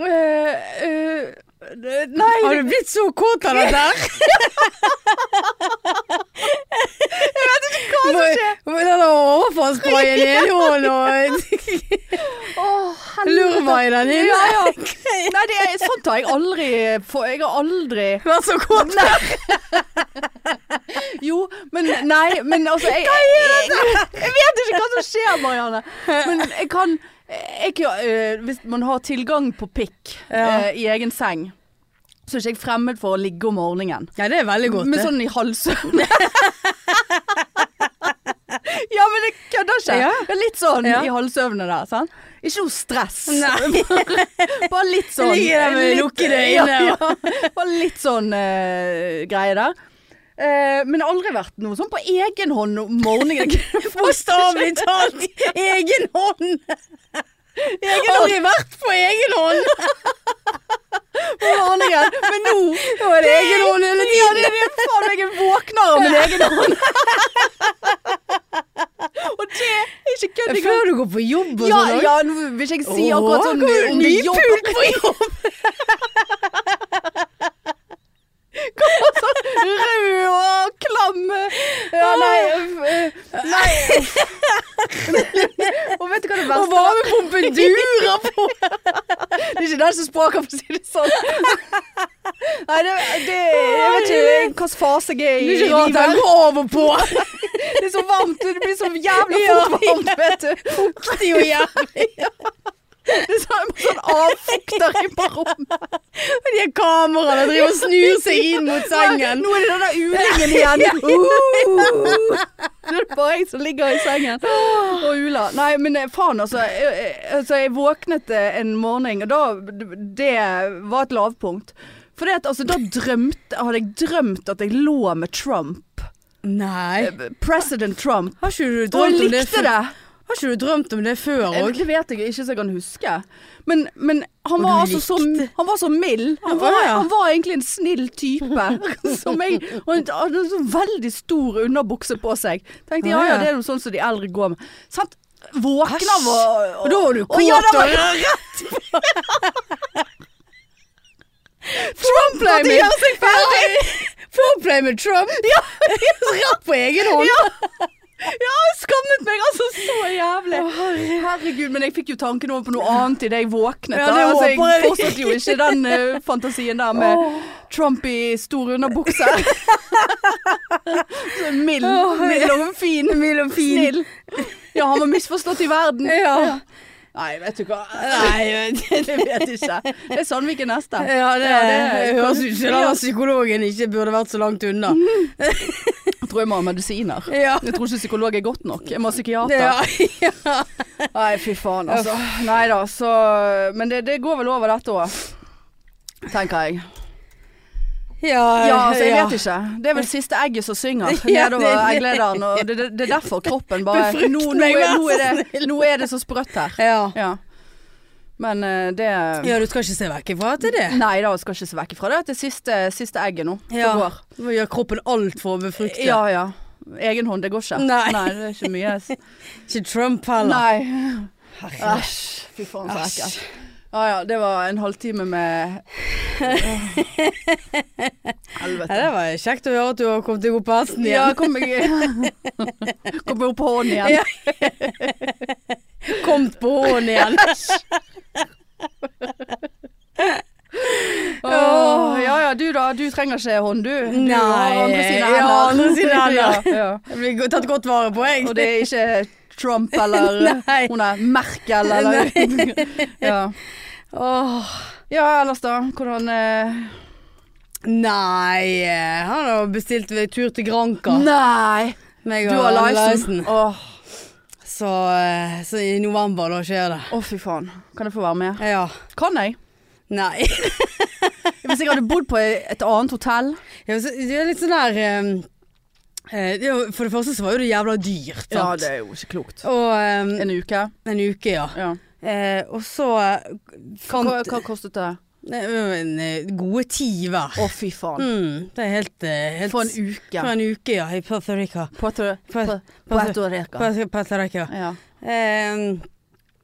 [SPEAKER 1] eh, eh, Nei,
[SPEAKER 2] Har du blitt så kåt av det der?
[SPEAKER 1] hva som skjer?
[SPEAKER 2] Den overfallsprayen i ene hånden og
[SPEAKER 1] Åh, helvete.
[SPEAKER 2] lurva i den
[SPEAKER 1] Ja,
[SPEAKER 2] andre.
[SPEAKER 1] ja. Nei, det er, sånt har jeg aldri få- Jeg har aldri
[SPEAKER 2] Vær så kåt.
[SPEAKER 1] Jo, men nei, men altså jeg, jeg, jeg vet ikke hva som skjer, Marianne. Men jeg kan jeg, kan- øh, Hvis man har tilgang på pikk
[SPEAKER 2] Ja.
[SPEAKER 1] øh, i egen seng, så er ikke jeg fremmed for å ligge om morgenen.
[SPEAKER 2] Ja, det er veldig godt.
[SPEAKER 1] Men
[SPEAKER 2] det.
[SPEAKER 1] sånn i halvsøvn. ja, men jeg kødder ikke.
[SPEAKER 2] Ja.
[SPEAKER 1] Det er litt sånn
[SPEAKER 2] Ja.
[SPEAKER 1] i halvsøvne der. Sant? Ikke noe stress.
[SPEAKER 2] Nei.
[SPEAKER 1] Bare litt sånn
[SPEAKER 2] Ligger der med
[SPEAKER 1] litt-
[SPEAKER 2] lukkede øyne.
[SPEAKER 1] Ja, ja. Bare litt sånn eh, greie der. Eh, men det har aldri vært noe sånn på egen hånd om morgenen.
[SPEAKER 2] Bokstavelig talt! Egen hånd! Aldri vært på egen hånd!
[SPEAKER 1] På morgenen. Men nå
[SPEAKER 2] Nå er det egen hånd hele
[SPEAKER 1] Ja, det
[SPEAKER 2] tiden.
[SPEAKER 1] er det faen meg jeg våkner av min egen hånd. Og det er ikke kødd engang.
[SPEAKER 2] Før du går på jobb og
[SPEAKER 1] Ja,
[SPEAKER 2] sånn.
[SPEAKER 1] ja, nå vil ikke jeg si
[SPEAKER 2] Åh,
[SPEAKER 1] akkurat sånn
[SPEAKER 2] hvor
[SPEAKER 1] om det er jobb.
[SPEAKER 2] nypult på jobb!
[SPEAKER 1] Rød og klam. Ja, nei. eh, Nei. Og vet du hva det
[SPEAKER 2] Og
[SPEAKER 1] verste var?
[SPEAKER 2] varmepumpen durer på!
[SPEAKER 1] Det er ikke den som spraker, for å si det sånn. Nei, det, det Jeg vet ikke hvilken fase jeg er i.
[SPEAKER 2] Det er
[SPEAKER 1] i
[SPEAKER 2] ikke rart
[SPEAKER 1] livet.
[SPEAKER 2] den går av og på.
[SPEAKER 1] Det er så varmt, det blir så jævla
[SPEAKER 2] Ja.
[SPEAKER 1] fort varmt, vet du.
[SPEAKER 2] Det er jo jævlig.
[SPEAKER 1] Det er sånn, sånn avfukter i på rommet.
[SPEAKER 2] Og De kameraene driver og snur seg inn mot sengen.
[SPEAKER 1] Nå er det den der ulingen igjen. Uh. Det er bare jeg som ligger i sengen og uler. Nei, men eh, faen altså. Jeg, jeg- altså, jeg våknet eh, en morgen, og da Det var et lavpunkt. For det at, altså, da drømte, hadde jeg drømt at jeg lå med Trump.
[SPEAKER 2] Nei.
[SPEAKER 1] President Trump.
[SPEAKER 2] Har ikke du
[SPEAKER 1] Og jeg
[SPEAKER 2] drømt om det
[SPEAKER 1] likte
[SPEAKER 2] før?
[SPEAKER 1] det.
[SPEAKER 2] Har ikke du drømt om det før
[SPEAKER 1] Eh,
[SPEAKER 2] òg?
[SPEAKER 1] Det vet jeg ikke så jeg kan huske. Men, men han,
[SPEAKER 2] Og
[SPEAKER 1] var
[SPEAKER 2] du
[SPEAKER 1] altså så,
[SPEAKER 2] likte.
[SPEAKER 1] han var så mild. Han var,
[SPEAKER 2] Å, ja.
[SPEAKER 1] han var egentlig en snill type. som jeg, og han hadde en sånn veldig stor underbukse på seg. Tenkte ja
[SPEAKER 2] Å,
[SPEAKER 1] ja,
[SPEAKER 2] ja.
[SPEAKER 1] det er jo sånn som de eldre går med. Sant? Våkne av å
[SPEAKER 2] Og da var du
[SPEAKER 1] Å, ja, da
[SPEAKER 2] kåt
[SPEAKER 1] var-
[SPEAKER 2] og rett
[SPEAKER 1] Trump-play
[SPEAKER 2] til å gjøre seg ferdig! Foreplay med Trump. Ja. Rett på egen hånd.
[SPEAKER 1] Ja, jeg skammet meg altså så jævlig. Herregud, men jeg fikk jo tanken over på noe annet idet jeg våknet.
[SPEAKER 2] Ja,
[SPEAKER 1] da.
[SPEAKER 2] det
[SPEAKER 1] altså,
[SPEAKER 2] håper
[SPEAKER 1] jeg
[SPEAKER 2] jeg.
[SPEAKER 1] fortsatte jo ikke den eh, fantasien der med
[SPEAKER 2] Åh.
[SPEAKER 1] Trump i stor underbukse. Så mild,
[SPEAKER 2] Åh, ja.
[SPEAKER 1] mild og fin.
[SPEAKER 2] Mild og fin.
[SPEAKER 1] Snill. Ja, han var misforstått i verden.
[SPEAKER 2] Ja.
[SPEAKER 1] Nei, vet du hva.
[SPEAKER 2] Nei, det
[SPEAKER 1] Jeg vet ikke. Det er Sandvik er neste.
[SPEAKER 2] Ja, det,
[SPEAKER 1] Ja, det
[SPEAKER 2] høres ut som
[SPEAKER 1] Ja.
[SPEAKER 2] den psykologen ikke burde vært så langt unna.
[SPEAKER 1] Jeg tror jeg må ha medisiner.
[SPEAKER 2] Ja.
[SPEAKER 1] Jeg tror ikke psykolog er godt nok. Jeg må ha psykiater.
[SPEAKER 2] Ja, ja.
[SPEAKER 1] Nei, fy faen, altså. Nei da, så Men det, det går vel over dette òg. Tenker jeg. Ja, altså, jeg
[SPEAKER 2] ja.
[SPEAKER 1] vet ikke. Det er vel siste egget som synger
[SPEAKER 2] Ja,
[SPEAKER 1] nedover
[SPEAKER 2] det-
[SPEAKER 1] egglederen. Og det, det, det er derfor kroppen bare
[SPEAKER 2] Befrukt
[SPEAKER 1] nå, nå,
[SPEAKER 2] meg,
[SPEAKER 1] er,
[SPEAKER 2] vær
[SPEAKER 1] nå,
[SPEAKER 2] så
[SPEAKER 1] er det, nå er det så sprøtt her.
[SPEAKER 2] Ja.
[SPEAKER 1] Ja. Men eh, det
[SPEAKER 2] ja, du skal ikke se vekk ifra at det er det.
[SPEAKER 1] Nei da, skal ikke se vekk ifra det. Det er siste, siste egget nå.
[SPEAKER 2] Ja.
[SPEAKER 1] Som går.
[SPEAKER 2] Du må gjøre kroppen alt for å befrukte.
[SPEAKER 1] Ja ja. Egen hånd, det går ikke.
[SPEAKER 2] Nei.
[SPEAKER 1] det er ikke mye
[SPEAKER 2] Ikke Trump heller.
[SPEAKER 1] Nei.
[SPEAKER 2] Herregud.
[SPEAKER 1] Æsj. Fy faen, så
[SPEAKER 2] Æsj.
[SPEAKER 1] ekkelt. Ja ja, det var en halvtime med
[SPEAKER 2] Ja,
[SPEAKER 1] Helvete.
[SPEAKER 2] det var kjekt å høre at du har kommet deg opp på hesten
[SPEAKER 1] Ja,
[SPEAKER 2] igjen.
[SPEAKER 1] kom meg Kom meg opp på hånden igjen.
[SPEAKER 2] Ja. Kommet på hånden igjen.
[SPEAKER 1] Åh, ja ja, du da. Du trenger ikke hånd, du. du har andre sine
[SPEAKER 2] Ja, andre sine
[SPEAKER 1] Ja,
[SPEAKER 2] hender.
[SPEAKER 1] ja.
[SPEAKER 2] Jeg blir go- tatt godt vare på, jeg.
[SPEAKER 1] Og det er ikke Trump eller
[SPEAKER 2] Nei.
[SPEAKER 1] hun er Merkel eller ja.
[SPEAKER 2] Åh.
[SPEAKER 1] ja, ellers da. Hvordan eh,
[SPEAKER 2] Nei, eh, han har bestilt ved tur til Granca.
[SPEAKER 1] Nei!
[SPEAKER 2] Meg
[SPEAKER 1] Du
[SPEAKER 2] og
[SPEAKER 1] har
[SPEAKER 2] Leisen.
[SPEAKER 1] Lyson. Åh,
[SPEAKER 2] Så, eh, så i november da skjer det.
[SPEAKER 1] Å, fy faen. Kan jeg få være med?
[SPEAKER 2] Ja.
[SPEAKER 1] Kan jeg?
[SPEAKER 2] Nei.
[SPEAKER 1] Hvis jeg hadde bodd på et annet hotell
[SPEAKER 2] Ja, så, det er litt sånn der eh, eh, det er jo- For det første så var jo det jævla dyrt. sant?
[SPEAKER 1] er jo ikke klokt.
[SPEAKER 2] Og eh, en,
[SPEAKER 1] En uke.
[SPEAKER 2] uke, ja.
[SPEAKER 1] Ja.
[SPEAKER 2] Eh, og så eh, fant
[SPEAKER 1] Hva, hva kostet det?
[SPEAKER 2] Nei, men, eh, Gode ti hver.
[SPEAKER 1] Å, fy faen.
[SPEAKER 2] Mm, det er helt, eh, helt
[SPEAKER 1] For en uke.
[SPEAKER 2] For en uke, ja. I Puerto Rico.
[SPEAKER 1] Puerto-
[SPEAKER 2] Puerto-
[SPEAKER 1] Puerto Rico.
[SPEAKER 2] Puerto- Puerto Rico.
[SPEAKER 1] Ja.
[SPEAKER 2] Eh,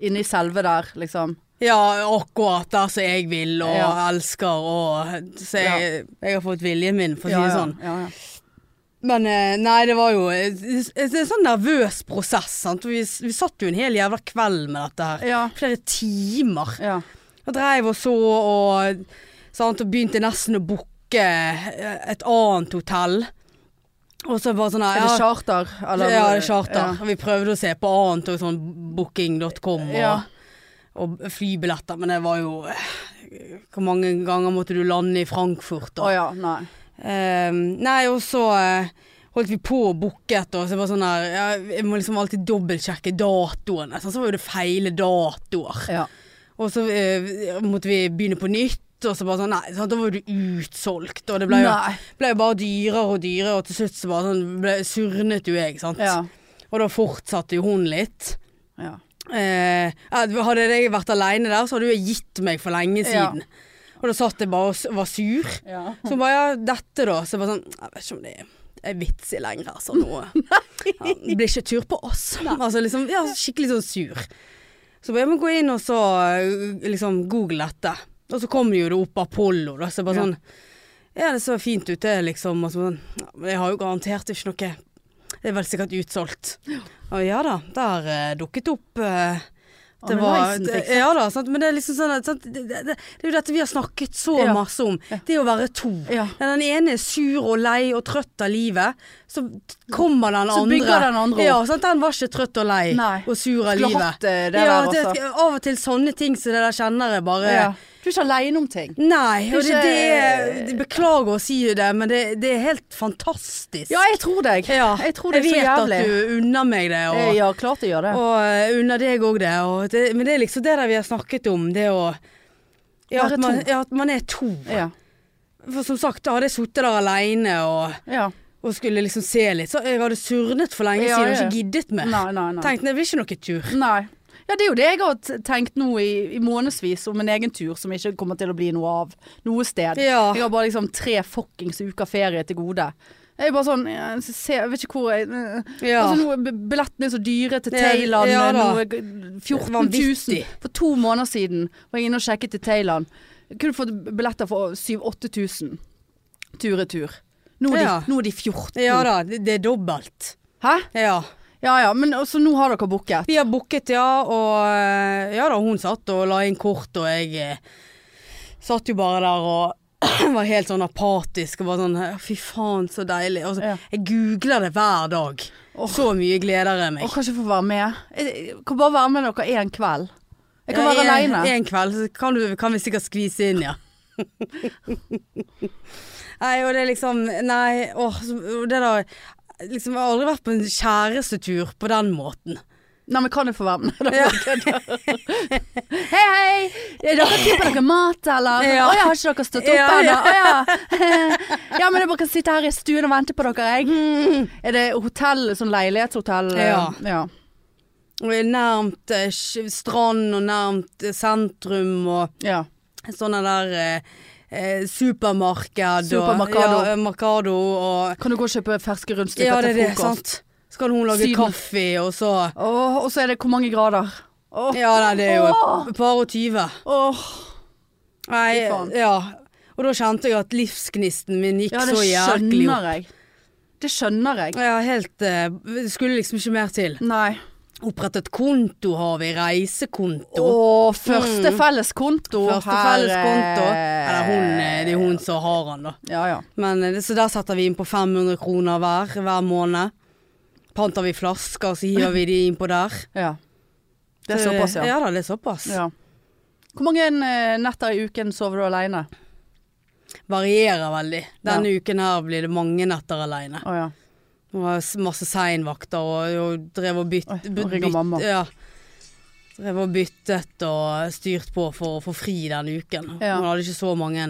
[SPEAKER 1] Inne i selve der, liksom.
[SPEAKER 2] ja, akkurat der som jeg vil og
[SPEAKER 1] Ja.
[SPEAKER 2] elsker og Så jeg, jeg har fått viljen min, for å si det sånn.
[SPEAKER 1] Ja, ja.
[SPEAKER 2] Men eh, nei, det var jo en, en sånn nervøs prosess, sant. Vi, vi satt jo en hel jævla kveld med dette her.
[SPEAKER 1] Ja,
[SPEAKER 2] Flere timer.
[SPEAKER 1] ja.
[SPEAKER 2] Og dreiv og så og sant, Og begynte nesten å booke eh, et annet hotell. Og så bare sånn her,
[SPEAKER 1] Er det charter? eller-
[SPEAKER 2] ja, det er charter. Vi prøvde å se på annet, og sånn booking.com og,
[SPEAKER 1] Ja.
[SPEAKER 2] og flybilletter, men det var jo eh, Hvor mange ganger måtte du lande i Frankfurt?
[SPEAKER 1] Å
[SPEAKER 2] Og,
[SPEAKER 1] ja, nei.
[SPEAKER 2] Eh, nei, og så eh, holdt vi på og booket, og så var det sånn her ja, Jeg må liksom alltid dobbeltsjekke altså, datoene. sånn, Så var jo det feile datoer.
[SPEAKER 1] Ja.
[SPEAKER 2] Og så eh, måtte vi begynne på nytt. ut, og så bare sånn Nei, sant, da var du utsolgt, og det ble jo,
[SPEAKER 1] Nei.
[SPEAKER 2] ble jo bare dyrere og dyrere, og til slutt så bare sånn ble, surnet jo jeg, sant.
[SPEAKER 1] Ja.
[SPEAKER 2] Og da fortsatte jo hun litt.
[SPEAKER 1] ja.
[SPEAKER 2] Eh, hadde jeg vært aleine der, så hadde jo jeg gitt meg for lenge
[SPEAKER 1] Ja.
[SPEAKER 2] siden. Og da satt jeg bare og s- var sur.
[SPEAKER 1] ja.
[SPEAKER 2] Så hun bare ja, dette da. Så jeg bare sånn Jeg vet ikke om det er vits i lenger, altså. Nå ja, det blir ikke tur på oss. Altså liksom ja, skikkelig sånn sur. Så bare jeg må gå inn og så eh, liksom google dette. Og så kom jo det opp Apollo, da. Så jeg bare
[SPEAKER 1] Ja.
[SPEAKER 2] sånn Ja, det så fint ut det, liksom. Og så bare sånn ja, Men jeg har jo garantert ikke noe Det er vel sikkert utsolgt. Og ja da, der eh, dukket opp eh, det var,
[SPEAKER 1] Analysen
[SPEAKER 2] det,
[SPEAKER 1] fikset.
[SPEAKER 2] ja da, sant? men det er liksom sånn at, sant? Det, det, det det er jo dette vi har snakket så
[SPEAKER 1] Ja.
[SPEAKER 2] masse om. Det å være to.
[SPEAKER 1] Ja.
[SPEAKER 2] Når den ene er sur og lei og trøtt av livet, så kommer den
[SPEAKER 1] Så
[SPEAKER 2] andre.
[SPEAKER 1] bygger den andre opp.
[SPEAKER 2] Ja, sant? Den var ikke trøtt og lei
[SPEAKER 1] Nei.
[SPEAKER 2] og sur av
[SPEAKER 1] Skulle
[SPEAKER 2] livet.
[SPEAKER 1] hatt eh, det
[SPEAKER 2] ja,
[SPEAKER 1] der
[SPEAKER 2] det,
[SPEAKER 1] også.
[SPEAKER 2] av og til sånne ting som det der kjenner jeg bare
[SPEAKER 1] Ja. Du er ikke aleine om ting.
[SPEAKER 2] Nei, og det,
[SPEAKER 1] Ikke-
[SPEAKER 2] det er det- Beklager å si det, men det, det er helt fantastisk.
[SPEAKER 1] Ja, jeg tror deg.
[SPEAKER 2] Ja,
[SPEAKER 1] Jeg tror det er
[SPEAKER 2] vet
[SPEAKER 1] så jævlig.
[SPEAKER 2] at du unner meg det. Og,
[SPEAKER 1] Eh, Ja, klart jeg gjør det.
[SPEAKER 2] og eh, under deg òg det, og det. Men det er liksom det der vi har snakket om, det å ja,
[SPEAKER 1] Være
[SPEAKER 2] at, man,
[SPEAKER 1] to.
[SPEAKER 2] ja, at man er to.
[SPEAKER 1] Ja.
[SPEAKER 2] For som sagt, da hadde jeg sittet der aleine og,
[SPEAKER 1] ja.
[SPEAKER 2] og skulle liksom se litt. Så jeg hadde surnet for lenge
[SPEAKER 1] Ja,
[SPEAKER 2] siden og
[SPEAKER 1] ja.
[SPEAKER 2] ikke giddet mer.
[SPEAKER 1] Nei, nei, nei.
[SPEAKER 2] Tenkte det blir ikke noe tur.
[SPEAKER 1] nei. Ja, det er jo det jeg har t- tenkt nå i, i månedsvis om en egen tur som ikke kommer til å bli noe av noe sted.
[SPEAKER 2] Ja.
[SPEAKER 1] Jeg har bare liksom tre fuckings uker ferie til gode. Jeg er bare sånn ja, se, Jeg vet ikke hvor jeg
[SPEAKER 2] Ja.
[SPEAKER 1] Altså, nå er b- Billettene er så dyre til
[SPEAKER 2] Ja,
[SPEAKER 1] Thailand.
[SPEAKER 2] ja da.
[SPEAKER 1] nå er g- 14 000.
[SPEAKER 2] Vanvittig.
[SPEAKER 1] For to måneder siden var jeg inne og sjekket til Thailand. Jeg kunne fått billetter for 7000-8000 tur-retur. Nå, er de-
[SPEAKER 2] Ja.
[SPEAKER 1] nå er de 14
[SPEAKER 2] ja da, det, det er dobbelt.
[SPEAKER 1] Hæ?
[SPEAKER 2] Ja.
[SPEAKER 1] Ja ja, men altså, nå har dere booket.
[SPEAKER 2] Vi har booket, ja, og eh, ja da, hun satt og la inn kort, og jeg eh, satt jo bare der og var helt sånn apatisk og bare sånn eh, Fy faen, så deilig. Og så,
[SPEAKER 1] Ja.
[SPEAKER 2] Jeg googler det hver dag. Så mye gleder jeg meg.
[SPEAKER 1] Og kanskje få være med. Jeg jeg kan bare være med dere én kveld. Jeg kan
[SPEAKER 2] Ja,
[SPEAKER 1] være
[SPEAKER 2] en-
[SPEAKER 1] aleine.
[SPEAKER 2] En kveld så kan, du, kan vi sikkert skvise inn, ja. nei, og det er liksom Nei, åh, så- og det da Liksom, jeg har aldri vært på en kjærestetur på den måten.
[SPEAKER 1] Nei, men kan jeg få være med? Da hei, hei! Er dere tid på noe mat, eller? Å
[SPEAKER 2] Ja.
[SPEAKER 1] ja, har ikke dere stått opp
[SPEAKER 2] Ja,
[SPEAKER 1] ennå?
[SPEAKER 2] ja.
[SPEAKER 1] Å ja. ja, men jeg bare kan sitte her i stuen og vente på dere, jeg. Er det hotell, sånn leilighetshotell?
[SPEAKER 2] Mm. Ja.
[SPEAKER 1] ja.
[SPEAKER 2] Og det er nærmt eh, sj- strand og nærmt eh, sentrum og
[SPEAKER 1] Ja.
[SPEAKER 2] sånne der eh, eh, supermarked.
[SPEAKER 1] Supermercado.
[SPEAKER 2] Og, ja, eh, Mercado og
[SPEAKER 1] Kan du gå og kjøpe ferske rundstykker
[SPEAKER 2] Ja, det er
[SPEAKER 1] til
[SPEAKER 2] det,
[SPEAKER 1] frokost?
[SPEAKER 2] sant. Så kan hun lage
[SPEAKER 1] Syden.
[SPEAKER 2] kaffe, og så
[SPEAKER 1] Åh, og så er det hvor mange grader? Åh,
[SPEAKER 2] Ja, nei, det er jo
[SPEAKER 1] Åh.
[SPEAKER 2] et par og tyve.
[SPEAKER 1] åh.
[SPEAKER 2] Nei,
[SPEAKER 1] Fy faen.
[SPEAKER 2] ja. Og da kjente jeg at livsgnisten min gikk
[SPEAKER 1] Ja, det
[SPEAKER 2] så jæklig opp.
[SPEAKER 1] skjønner jeg. Det skjønner jeg.
[SPEAKER 2] Ja, helt eh, Det skulle liksom ikke mer til.
[SPEAKER 1] Nei.
[SPEAKER 2] Opprettet konto har vi, reisekonto.
[SPEAKER 1] Åh, første felles konto.
[SPEAKER 2] Mm. Første
[SPEAKER 1] Her,
[SPEAKER 2] felles konto.
[SPEAKER 1] eh,
[SPEAKER 2] Eller hun, eh, det er hun som har den, da.
[SPEAKER 1] Ja, ja.
[SPEAKER 2] Men, eh, så der setter vi inn på 500 kroner hver hver måned. Panter vi flasker, så hiver vi de innpå der.
[SPEAKER 1] ja. Det er
[SPEAKER 2] Så-
[SPEAKER 1] såpass, ja.
[SPEAKER 2] Ja da, det er såpass.
[SPEAKER 1] Ja. Hvor mange eh, netter i uken sover du alene?
[SPEAKER 2] Varierer veldig. Denne uken her blir det mange netter aleine.
[SPEAKER 1] Å ja.
[SPEAKER 2] Hun har s- masse seinvakter og, og drev og bytt,
[SPEAKER 1] Oi, nå
[SPEAKER 2] bytt-
[SPEAKER 1] ringer mamma.
[SPEAKER 2] Ja. Drev og byttet og styrt på for å få fri den uken.
[SPEAKER 1] Ja.
[SPEAKER 2] Hun hadde ikke så mange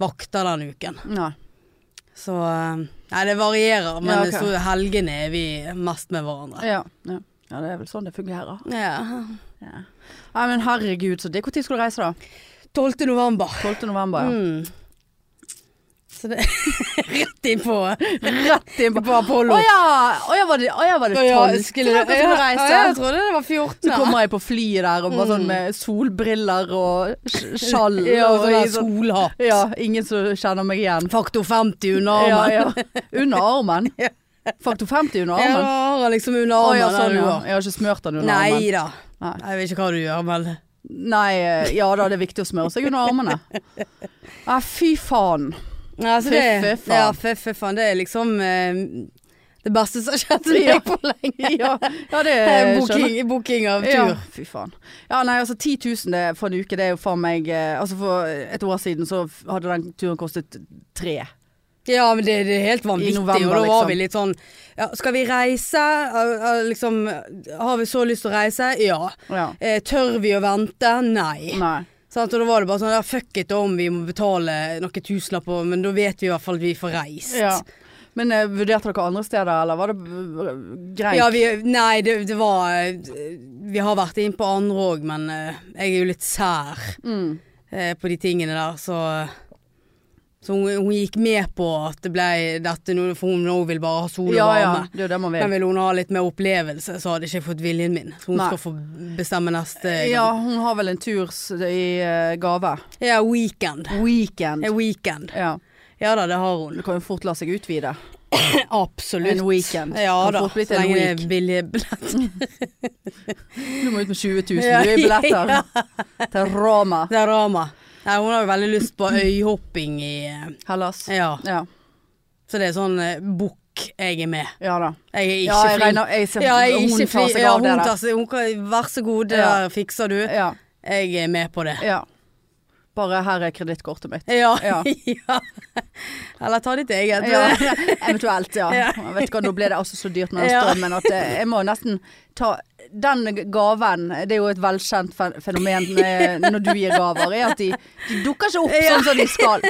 [SPEAKER 2] vakter den uken.
[SPEAKER 1] Nei.
[SPEAKER 2] Så eh, Nei, det varierer, men
[SPEAKER 1] Ja, ok.
[SPEAKER 2] så helgene er vi mest med hverandre.
[SPEAKER 1] Ja. Ja. ja, det er vel sånn det fungerer.
[SPEAKER 2] Ja.
[SPEAKER 1] Ja. Nei, men herregud, så det Når skal du reise, da?
[SPEAKER 2] 12. november.
[SPEAKER 1] 12. november,
[SPEAKER 2] Mm. Så det Rett inn på
[SPEAKER 1] ja. Rett inn
[SPEAKER 2] på Apollo.
[SPEAKER 1] Å ja! Å ja, var det, å, ja, var det 12.
[SPEAKER 2] skulle,
[SPEAKER 1] dere skulle
[SPEAKER 2] ja,
[SPEAKER 1] reise?
[SPEAKER 2] ja, jeg trodde det var 14.
[SPEAKER 1] Så kommer jeg på flyet der og bare sånn med solbriller og sj- skjall.
[SPEAKER 2] ja, og sånn
[SPEAKER 1] i
[SPEAKER 2] der solhatt.
[SPEAKER 1] ja, ingen som kjenner meg igjen.
[SPEAKER 2] Faktor 50 under armen.
[SPEAKER 1] Ja, ja. Under armen?
[SPEAKER 2] Ja.
[SPEAKER 1] Faktor 50 under
[SPEAKER 2] Ja, da
[SPEAKER 1] armen?
[SPEAKER 2] har han liksom under
[SPEAKER 1] Å
[SPEAKER 2] armen.
[SPEAKER 1] ja, sånn,
[SPEAKER 2] der du
[SPEAKER 1] ja.
[SPEAKER 2] har.
[SPEAKER 1] Jeg har ikke smørt den under armen.
[SPEAKER 2] Nei da.
[SPEAKER 1] Nei.
[SPEAKER 2] Jeg vet ikke hva du gjør, men
[SPEAKER 1] Nei, eh, ja da, det er viktig å smøre seg under armene. Ja, fy faen.
[SPEAKER 2] ja, altså, det,
[SPEAKER 1] Fy, fy, faen.
[SPEAKER 2] Ja, fy, fy, faen. Det er liksom eh, det beste som har skjedd
[SPEAKER 1] Ja.
[SPEAKER 2] meg på lenge.
[SPEAKER 1] Ja, ja det
[SPEAKER 2] Eh,
[SPEAKER 1] skjønner jeg.
[SPEAKER 2] Booking, booking av tur.
[SPEAKER 1] Ja, fy faen. Ja, nei, altså 10 000 det, for en uke, det er jo faen meg eh, Altså for et år siden så f- hadde den turen kostet tre.
[SPEAKER 2] Ja, men det, det er helt vanvittig.
[SPEAKER 1] november,
[SPEAKER 2] og da var
[SPEAKER 1] liksom.
[SPEAKER 2] vi litt sånn ja, Skal vi reise? Eh, eh, Liksom Har vi så lyst til å reise? Ja.
[SPEAKER 1] Ja.
[SPEAKER 2] Eh, tør vi å vente? Nei.
[SPEAKER 1] Nei.
[SPEAKER 2] Sant? Og da var det bare sånn ja, fuck it om vi må betale noen tusenlapper, men da vet vi i hvert fall at vi får reist.
[SPEAKER 1] Ja. Men eh, vurderte dere andre steder, eller var det eh, greit?
[SPEAKER 2] Ja, vi, nei, det, det var eh, Vi har vært inn på andre òg, men eh, jeg er jo litt sær
[SPEAKER 1] mm.
[SPEAKER 2] eh, på de tingene der, så Så hun, hun gikk med på at det ble dette nå, for hun nå vil bare ha sol og
[SPEAKER 1] ja, ja.
[SPEAKER 2] varme.
[SPEAKER 1] Det er jo det man
[SPEAKER 2] Men
[SPEAKER 1] vil.
[SPEAKER 2] vil hun ha litt mer opplevelse, så hadde jeg ikke fått viljen min. Så hun
[SPEAKER 1] Nei.
[SPEAKER 2] skal få bestemme neste
[SPEAKER 1] Eh, Ja, hun har vel en tur s- i eh, gave.
[SPEAKER 2] ja weekend.
[SPEAKER 1] Weekend.
[SPEAKER 2] Eh, Weekend.
[SPEAKER 1] Ja.
[SPEAKER 2] Ja da, det har
[SPEAKER 1] Du
[SPEAKER 2] hun.
[SPEAKER 1] kan jo fort la seg utvide.
[SPEAKER 2] Absolutt.
[SPEAKER 1] En weekend.
[SPEAKER 2] Ja
[SPEAKER 1] Kan
[SPEAKER 2] da,
[SPEAKER 1] fort bli til
[SPEAKER 2] så
[SPEAKER 1] en
[SPEAKER 2] lenge det
[SPEAKER 1] week.
[SPEAKER 2] er billige billetter.
[SPEAKER 1] Du må ut med 20 000
[SPEAKER 2] Ja,
[SPEAKER 1] i billetter til Roma.
[SPEAKER 2] Det er Rama. Nei, hun har jo veldig lyst på øyhopping i eh,
[SPEAKER 1] Hellas.
[SPEAKER 2] Ja.
[SPEAKER 1] Ja.
[SPEAKER 2] Så det er sånn eh, bukk jeg er med.
[SPEAKER 1] Ja da.
[SPEAKER 2] Jeg er ikke
[SPEAKER 1] Ja, jeg
[SPEAKER 2] flink.
[SPEAKER 1] regner jeg ser,
[SPEAKER 2] Ja, jeg er
[SPEAKER 1] Hun
[SPEAKER 2] ikke
[SPEAKER 1] tar
[SPEAKER 2] flink.
[SPEAKER 1] seg
[SPEAKER 2] Ja,
[SPEAKER 1] av det
[SPEAKER 2] hun
[SPEAKER 1] der.
[SPEAKER 2] tar seg Hun kan Vær så god, det
[SPEAKER 1] Ja.
[SPEAKER 2] der fikser du.
[SPEAKER 1] Ja.
[SPEAKER 2] Jeg er med på det.
[SPEAKER 1] ja. Bare her er kredittkortet mitt.
[SPEAKER 2] Ja.
[SPEAKER 1] Ja.
[SPEAKER 2] ja. Eller ta ditt eget.
[SPEAKER 1] Ja, eventuelt, ja.
[SPEAKER 2] Ja.
[SPEAKER 1] Jeg vet ikke, Nå ble det altså så dyrt med den
[SPEAKER 2] Ja.
[SPEAKER 1] strømmen at eh, jeg må nesten ta Den gaven, det er jo et velkjent fe- fenomen eh, når du gir gaver, er at de, de dukker ikke opp sånn som de skal.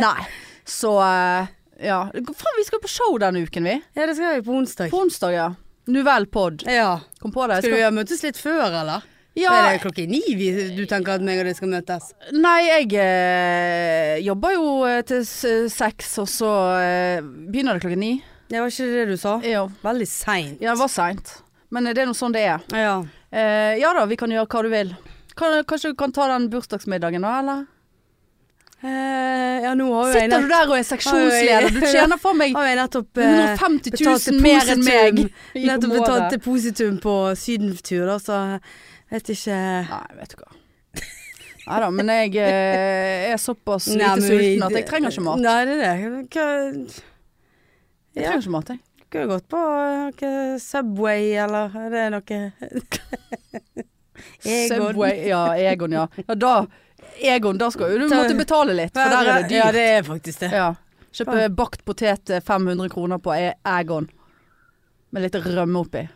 [SPEAKER 1] Nei. Så eh, ja. Faen, vi skal på show denne uken, vi.
[SPEAKER 2] Ja, det skal vi på onsdag.
[SPEAKER 1] På onsdag, ja. Nouvelle pod.
[SPEAKER 2] Ja.
[SPEAKER 1] Kom på det.
[SPEAKER 2] Skal vi møtes litt før, eller?
[SPEAKER 1] Ja,
[SPEAKER 2] Er det klokken ni vi, du tenker at meg og deg skal møtes?
[SPEAKER 1] Nei, jeg eh, jobber jo eh, til s- seks, og så eh, begynner det klokken ni.
[SPEAKER 2] Det var ikke det du sa?
[SPEAKER 1] Ja,
[SPEAKER 2] Veldig seint.
[SPEAKER 1] ja det var seint. Men eh, det er nå sånn det er.
[SPEAKER 2] ja.
[SPEAKER 1] Eh, ja da, vi kan gjøre hva du vil. Kan, kanskje du kan ta den bursdagsmiddagen da, eller?
[SPEAKER 2] Eh, ja, nå har jo jeg
[SPEAKER 1] Sitter du der og er seksjonsleder? Du tjener for meg
[SPEAKER 2] Har jeg nettopp eh,
[SPEAKER 1] 150
[SPEAKER 2] betalt
[SPEAKER 1] 000 mer enn meg.
[SPEAKER 2] depositum- Nettopp
[SPEAKER 1] I
[SPEAKER 2] betalt
[SPEAKER 1] måneden.
[SPEAKER 2] depositum på sydentur, da, så vet ikke
[SPEAKER 1] Nei, vet du hva. Nei da, men jeg eh, er såpass
[SPEAKER 2] Nei,
[SPEAKER 1] lite
[SPEAKER 2] men vi-
[SPEAKER 1] sulten at jeg trenger ikke mat.
[SPEAKER 2] Nei, det er det. Hva,
[SPEAKER 1] Jeg
[SPEAKER 2] ja,
[SPEAKER 1] trenger ikke mat, jeg.
[SPEAKER 2] kunne jo gått på eh, noe Subway, eller er det noe Egon.
[SPEAKER 1] Subway, ja. Egon, ja. ja da, Egon, da skal jo du måtte betale litt, for der er det
[SPEAKER 2] Ja,
[SPEAKER 1] dyrt.
[SPEAKER 2] det er faktisk det.
[SPEAKER 1] Ja. Kjøpe bakt potet eh, 500 kroner på E- Egon. Med litt rømme oppi.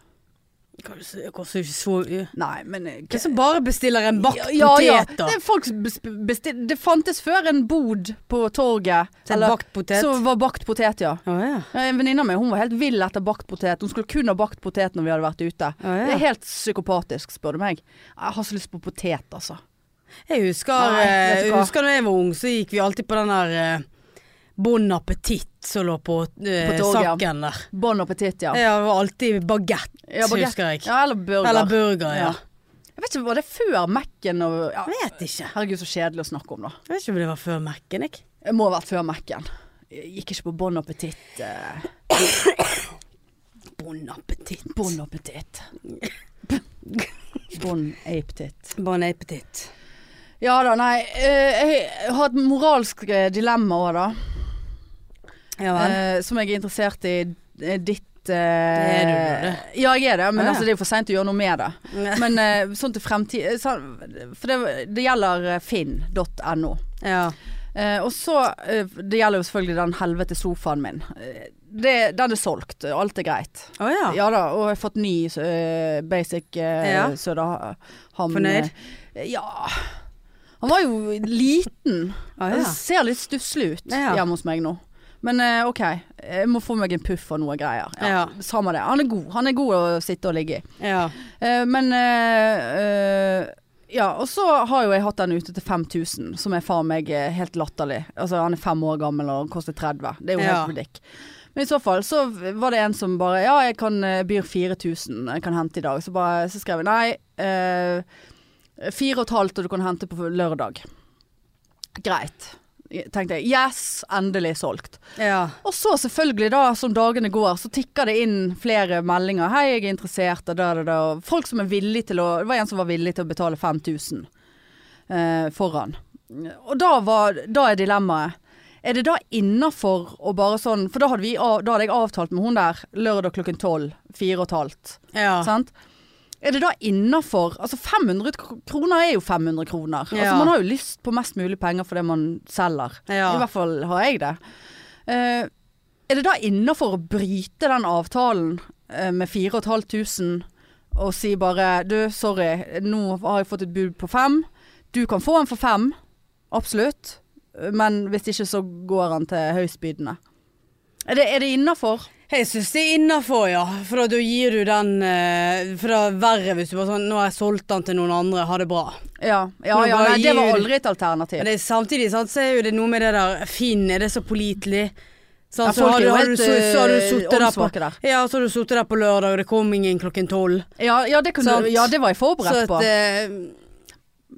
[SPEAKER 2] Kanskje- Det koster jo ikke så mye.
[SPEAKER 1] Nei, men eh,
[SPEAKER 2] Hvem som bare bestiller en bakt potet, da?
[SPEAKER 1] Det, er folk som bes- bestil- det fantes før en bod på torget
[SPEAKER 2] Til
[SPEAKER 1] eller-
[SPEAKER 2] bakt potet?
[SPEAKER 1] som var bakt potet, ja.
[SPEAKER 2] Å ja.
[SPEAKER 1] Ja, En venninne av meg hun var helt vill etter bakt potet. Hun skulle kun ha bakt potet når vi hadde vært ute.
[SPEAKER 2] Å, ja.
[SPEAKER 1] Det er helt psykopatisk, spør du meg. Jeg har så lyst på potet, altså.
[SPEAKER 2] Jeg husker,
[SPEAKER 1] Nei, vet
[SPEAKER 2] Nei,
[SPEAKER 1] du hva?
[SPEAKER 2] husker når jeg var ung, så gikk vi alltid på den der eh, Bon Appetit som lå på, eh,
[SPEAKER 1] På torget, ja.
[SPEAKER 2] saken der.
[SPEAKER 1] Bon appetit, ja.
[SPEAKER 2] Ja, det var alltid bagett,
[SPEAKER 1] Ja, baguette.
[SPEAKER 2] husker jeg.
[SPEAKER 1] ja eller burger.
[SPEAKER 2] Eller burger, ja.
[SPEAKER 1] Ja. Jeg vet ikke, var det før Mac-en og ja,
[SPEAKER 2] Jeg vet ikke.
[SPEAKER 1] Herregud, så kjedelig å snakke om, da.
[SPEAKER 2] Jeg vet ikke om det var før Mac-en, jeg.
[SPEAKER 1] Det må ha vært før Mac-en. Jeg Gikk ikke på Bon appetit. Eh.
[SPEAKER 2] Bon Appetit.
[SPEAKER 1] Bon appetit. Bon appetit.
[SPEAKER 2] Bon Appetit.
[SPEAKER 1] Ja da, nei. eh, Jeg har et moralsk eh, dilemma òg, da.
[SPEAKER 2] Ja vel.
[SPEAKER 1] eh, Som jeg er interessert i eh, ditt eh,
[SPEAKER 2] er du jo det.
[SPEAKER 1] Ja, jeg er det, men
[SPEAKER 2] Ja, ja.
[SPEAKER 1] altså, det er jo for seint å gjøre noe med det. Men eh, sånn til fremtid eh, sånn- For det, det gjelder eh, finn.no.
[SPEAKER 2] ja.
[SPEAKER 1] Eh, og så eh, Det gjelder jo selvfølgelig den helvete sofaen min. Eh, Det, den er solgt, og alt er greit.
[SPEAKER 2] Å ja.
[SPEAKER 1] Ja da, og jeg har fått ny eh, basic uh,
[SPEAKER 2] Ja.
[SPEAKER 1] Søderhamn.
[SPEAKER 2] Fornøyd?
[SPEAKER 1] eh, ja. Han var jo liten.
[SPEAKER 2] Å,
[SPEAKER 1] Det
[SPEAKER 2] Ah, ja.
[SPEAKER 1] ser litt stusslig ut
[SPEAKER 2] Ja.
[SPEAKER 1] hjemme hos meg nå. Men eh, OK, jeg må få meg en puff og noe greier.
[SPEAKER 2] Ja.
[SPEAKER 1] Samme det. Han er god. Han er god å sitte og ligge i.
[SPEAKER 2] ja.
[SPEAKER 1] Eh, men eh, eh, Ja, og så har jo jeg hatt den ute til 5000, som er faen meg eh, helt latterlig. Altså han er fem år gammel og koster 30. Det er jo
[SPEAKER 2] Ja.
[SPEAKER 1] helt ridic. Men i så fall så var det en som bare Ja, jeg kan eh, byr 4000, jeg kan hente i dag. Så, bare, så skrev jeg nei. eh, Fire og et halvt, og du kan hente på lørdag. Greit. Tenkte jeg. Yes, endelig solgt.
[SPEAKER 2] ja.
[SPEAKER 1] Og så selvfølgelig da, som dagene går, så tikker det inn flere meldinger. 'Hei, jeg er interessert', og da, da, da. Og Folk som er villig til å Det var en som var villig til å betale 5000 eh, foran. Og da, var, da er dilemmaet. Er det da innafor å bare sånn For da hadde, vi, av- da hadde jeg avtalt med hun der lørdag klokken tolv. Fire og et halvt.
[SPEAKER 2] ja.
[SPEAKER 1] Sant? Er det da innafor Altså 500 kr- kroner er jo 500 kroner. Altså
[SPEAKER 2] Ja.
[SPEAKER 1] Man har jo lyst på mest mulig penger for det man selger.
[SPEAKER 2] Ja.
[SPEAKER 1] I hvert fall har jeg det. Eh, er det da innafor å bryte den avtalen eh, med 4500 og si bare Du, sorry, nå har jeg fått et bud på fem. Du kan få den for fem, absolutt. Men hvis ikke så går han til høystbydende. Er det, er det innafor?
[SPEAKER 2] Jeg syns det er innafor, ja. For da gir du den eh, For det er verre hvis du bare sånn Nå har jeg solgt den til noen andre, ha det bra.
[SPEAKER 1] Ja, ja,
[SPEAKER 2] Men
[SPEAKER 1] ja
[SPEAKER 2] bare
[SPEAKER 1] nei, det
[SPEAKER 2] gi
[SPEAKER 1] var
[SPEAKER 2] ut-
[SPEAKER 1] aldri et alternativ.
[SPEAKER 2] Men det, er samtidig sant, så er jo det noe med det der Finn, er det så pålitelig? Sant,
[SPEAKER 1] Ja,
[SPEAKER 2] så,
[SPEAKER 1] folk
[SPEAKER 2] har
[SPEAKER 1] er
[SPEAKER 2] du,
[SPEAKER 1] jo
[SPEAKER 2] har du,
[SPEAKER 1] helt,
[SPEAKER 2] så, så har du
[SPEAKER 1] eh,
[SPEAKER 2] suttet der på
[SPEAKER 1] åndssvake der.
[SPEAKER 2] Ja, så har du sittet der på lørdag, og det kom ingen klokken tolv.
[SPEAKER 1] Ja, ja, det, kunne
[SPEAKER 2] Sant.
[SPEAKER 1] du, ja det var jeg
[SPEAKER 2] Så
[SPEAKER 1] forberedt
[SPEAKER 2] at
[SPEAKER 1] på.
[SPEAKER 2] eh,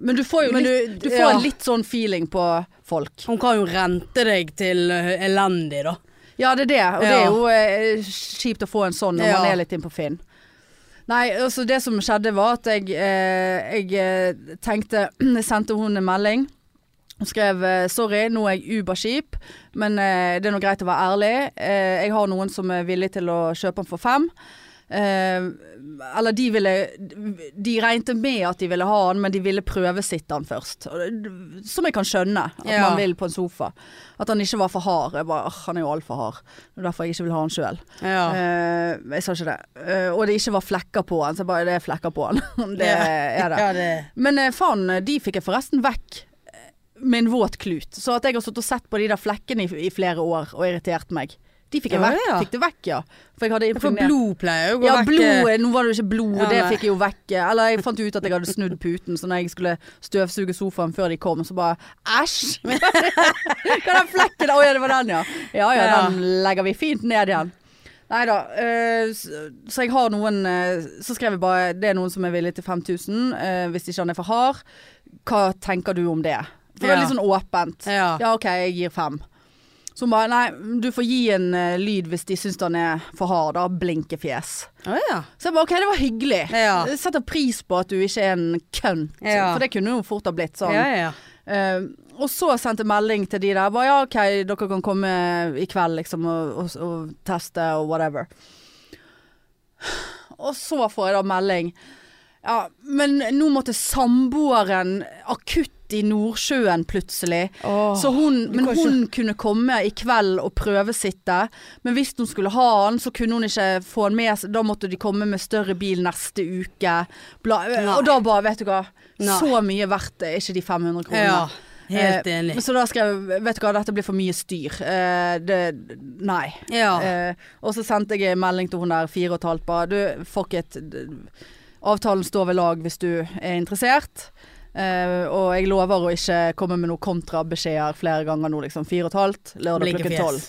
[SPEAKER 1] Men du får jo
[SPEAKER 2] men
[SPEAKER 1] litt,
[SPEAKER 2] du-
[SPEAKER 1] du får
[SPEAKER 2] ja.
[SPEAKER 1] en litt sånn feeling på folk.
[SPEAKER 2] Hun kan jo rente deg til eh, elendig, da.
[SPEAKER 1] Ja, det er det. Og det
[SPEAKER 2] Ja.
[SPEAKER 1] er jo eh, kjipt å få en sånn når
[SPEAKER 2] Ja.
[SPEAKER 1] man er litt inn på Finn. Nei, altså det som skjedde var at jeg, eh, jeg eh, tenkte Jeg sendte hun en melding. Hun skrev eh, 'sorry, nå er jeg Uber-skip, men eh, det er nå greit å være ærlig'. Eh, 'Jeg har noen som er villig til å kjøpe den for fem'. Eh, eller de ville De regnet med at de ville ha den, men de ville prøvesitte den først. Og det- Som jeg kan skjønne at
[SPEAKER 2] Ja.
[SPEAKER 1] man vil på en sofa. At han ikke var for hard. Jeg bare, «Åh, Han er jo altfor hard. Det er derfor jeg ikke vil ha han sjøl.
[SPEAKER 2] Ja.
[SPEAKER 1] jeg sa ikke det. Eh, og det ikke var flekker på han. Så jeg bare det er flekker på han. det er det.
[SPEAKER 2] Ja, det.
[SPEAKER 1] Men eh, faen, de fikk jeg forresten vekk eh, med en våt klut. Så at jeg har stått og sett på de der flekkene i, i flere år og irritert meg. De fikk jeg
[SPEAKER 2] Ja,
[SPEAKER 1] vekk.
[SPEAKER 2] ja.
[SPEAKER 1] Fikk det vekk, ja. For jeg hadde
[SPEAKER 2] For
[SPEAKER 1] impregnert-
[SPEAKER 2] blod pleier jo å gå
[SPEAKER 1] Ja,
[SPEAKER 2] vekk.
[SPEAKER 1] blod, eh, nå var det jo ikke blod,
[SPEAKER 2] Ja,
[SPEAKER 1] det
[SPEAKER 2] nei.
[SPEAKER 1] fikk jeg jo vekk. eh, Eller jeg fant jo ut at jeg hadde snudd puten, så når jeg skulle støvsuge sofaen før de kom, så bare æsj! Hva er den flekken der? Å ja, det var den, ja. Ja ja,
[SPEAKER 2] Ja.
[SPEAKER 1] den legger vi fint ned igjen. Nei da. Så så jeg har noen eh, Så skrev jeg bare det er noen som er villig til 5000, eh, hvis ikke han er for hard. Hva tenker du om det? For det
[SPEAKER 2] Ja.
[SPEAKER 1] er litt sånn åpent.
[SPEAKER 2] eh, Ja.
[SPEAKER 1] Ja, OK, jeg gir fem. Så hun bare nei, du får gi en eh, lyd hvis de syns den er for hard, da. Blinkefjes.
[SPEAKER 2] Å, ja.
[SPEAKER 1] Så jeg bare OK, det var hyggelig.
[SPEAKER 2] Ja.
[SPEAKER 1] Jeg setter pris på at du ikke er en kønt,
[SPEAKER 2] Ja.
[SPEAKER 1] for det kunne jo fort ha blitt sånn.
[SPEAKER 2] Ja, ja.
[SPEAKER 1] Eh, og så sendte jeg melding til de der. Bare ja, OK, dere kan komme i kveld, liksom, og, og, og teste og whatever. Og så får jeg da melding. Ja, men nå måtte samboeren akutt i Nordsjøen plutselig. Så hun, men
[SPEAKER 2] kan ikke-
[SPEAKER 1] hun kunne komme i kveld og prøvesitte. Men hvis hun skulle ha han, så kunne hun ikke få han med. seg. Da måtte de komme med større bil neste uke. Bla,
[SPEAKER 2] Nei.
[SPEAKER 1] og da bare, vet du hva.
[SPEAKER 2] Nei.
[SPEAKER 1] Så mye verdt er ikke de 500 kronene.
[SPEAKER 2] ja. Helt
[SPEAKER 1] Eh,
[SPEAKER 2] enig.
[SPEAKER 1] Så da skrev jeg Vet du hva, dette blir for mye styr. Eh, det, nei.
[SPEAKER 2] Ja.
[SPEAKER 1] Eh, og så sendte jeg en melding til hun der fire og et halvt bare Du, fuck it. D- Avtalen står ved lag hvis du er interessert. Eh, og jeg lover å ikke komme med noen kontrabeskjeder flere ganger nå, liksom. Fire og et halvt, lørdag klokken tolv.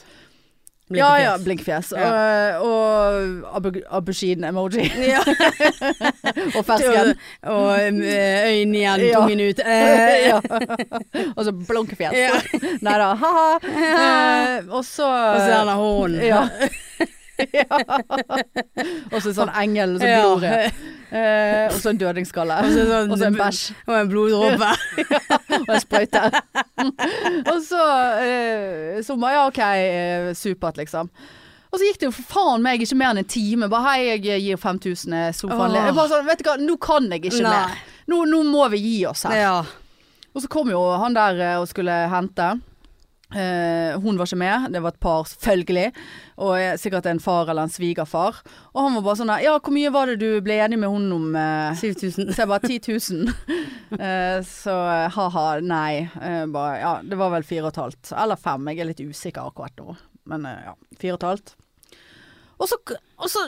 [SPEAKER 1] Ja ja,
[SPEAKER 2] Blinkefjes.
[SPEAKER 1] blinkfjes.
[SPEAKER 2] Ja.
[SPEAKER 1] Eh, og abu- aubergine-emoji.
[SPEAKER 2] Ja.
[SPEAKER 1] og fersken.
[SPEAKER 2] Og um, øynene igjen,
[SPEAKER 1] Ja.
[SPEAKER 2] tungen ut. Eh,
[SPEAKER 1] ja. Og så blunkefjes.
[SPEAKER 2] ja.
[SPEAKER 1] Nei da, ha-ha. Eh, og så
[SPEAKER 2] Og så denne hånden.
[SPEAKER 1] eh, Ja. ja. Og så en sånn engel som
[SPEAKER 2] Ja.
[SPEAKER 1] glor. Eh, og så en dødningsskalle.
[SPEAKER 2] Og så sånn-
[SPEAKER 1] Og så en bæsj.
[SPEAKER 2] Og en bloddråpe.
[SPEAKER 1] Og en sprøyte. og så eh, så bare ja, OK, eh, supert, liksom. Og så gikk det jo for faen meg ikke mer enn en time. Bare hei, jeg gir 5000 eh, sofaen.
[SPEAKER 2] Åh.
[SPEAKER 1] Jeg Bare sånn, vet du hva, nå kan jeg ikke
[SPEAKER 2] Nei.
[SPEAKER 1] mer. Nå, nå må vi gi oss her.
[SPEAKER 2] Ja.
[SPEAKER 1] Og så kom jo han der eh, og skulle hente. Eh, hun var ikke med, det var et par selvfølgelig. Og eh, sikkert en far eller en svigerfar. Og han var bare sånn der Ja, hvor mye var det du ble enig med hun om? eh?»
[SPEAKER 2] 7000.
[SPEAKER 1] Så jeg bare 10 000. Eh, så eh, ha-ha, nei. Eh, bare, ja, det var vel fire og et halvt. Eller fem, jeg er litt usikker akkurat nå. Men eh, ja, fire og et halvt. Og så, og så,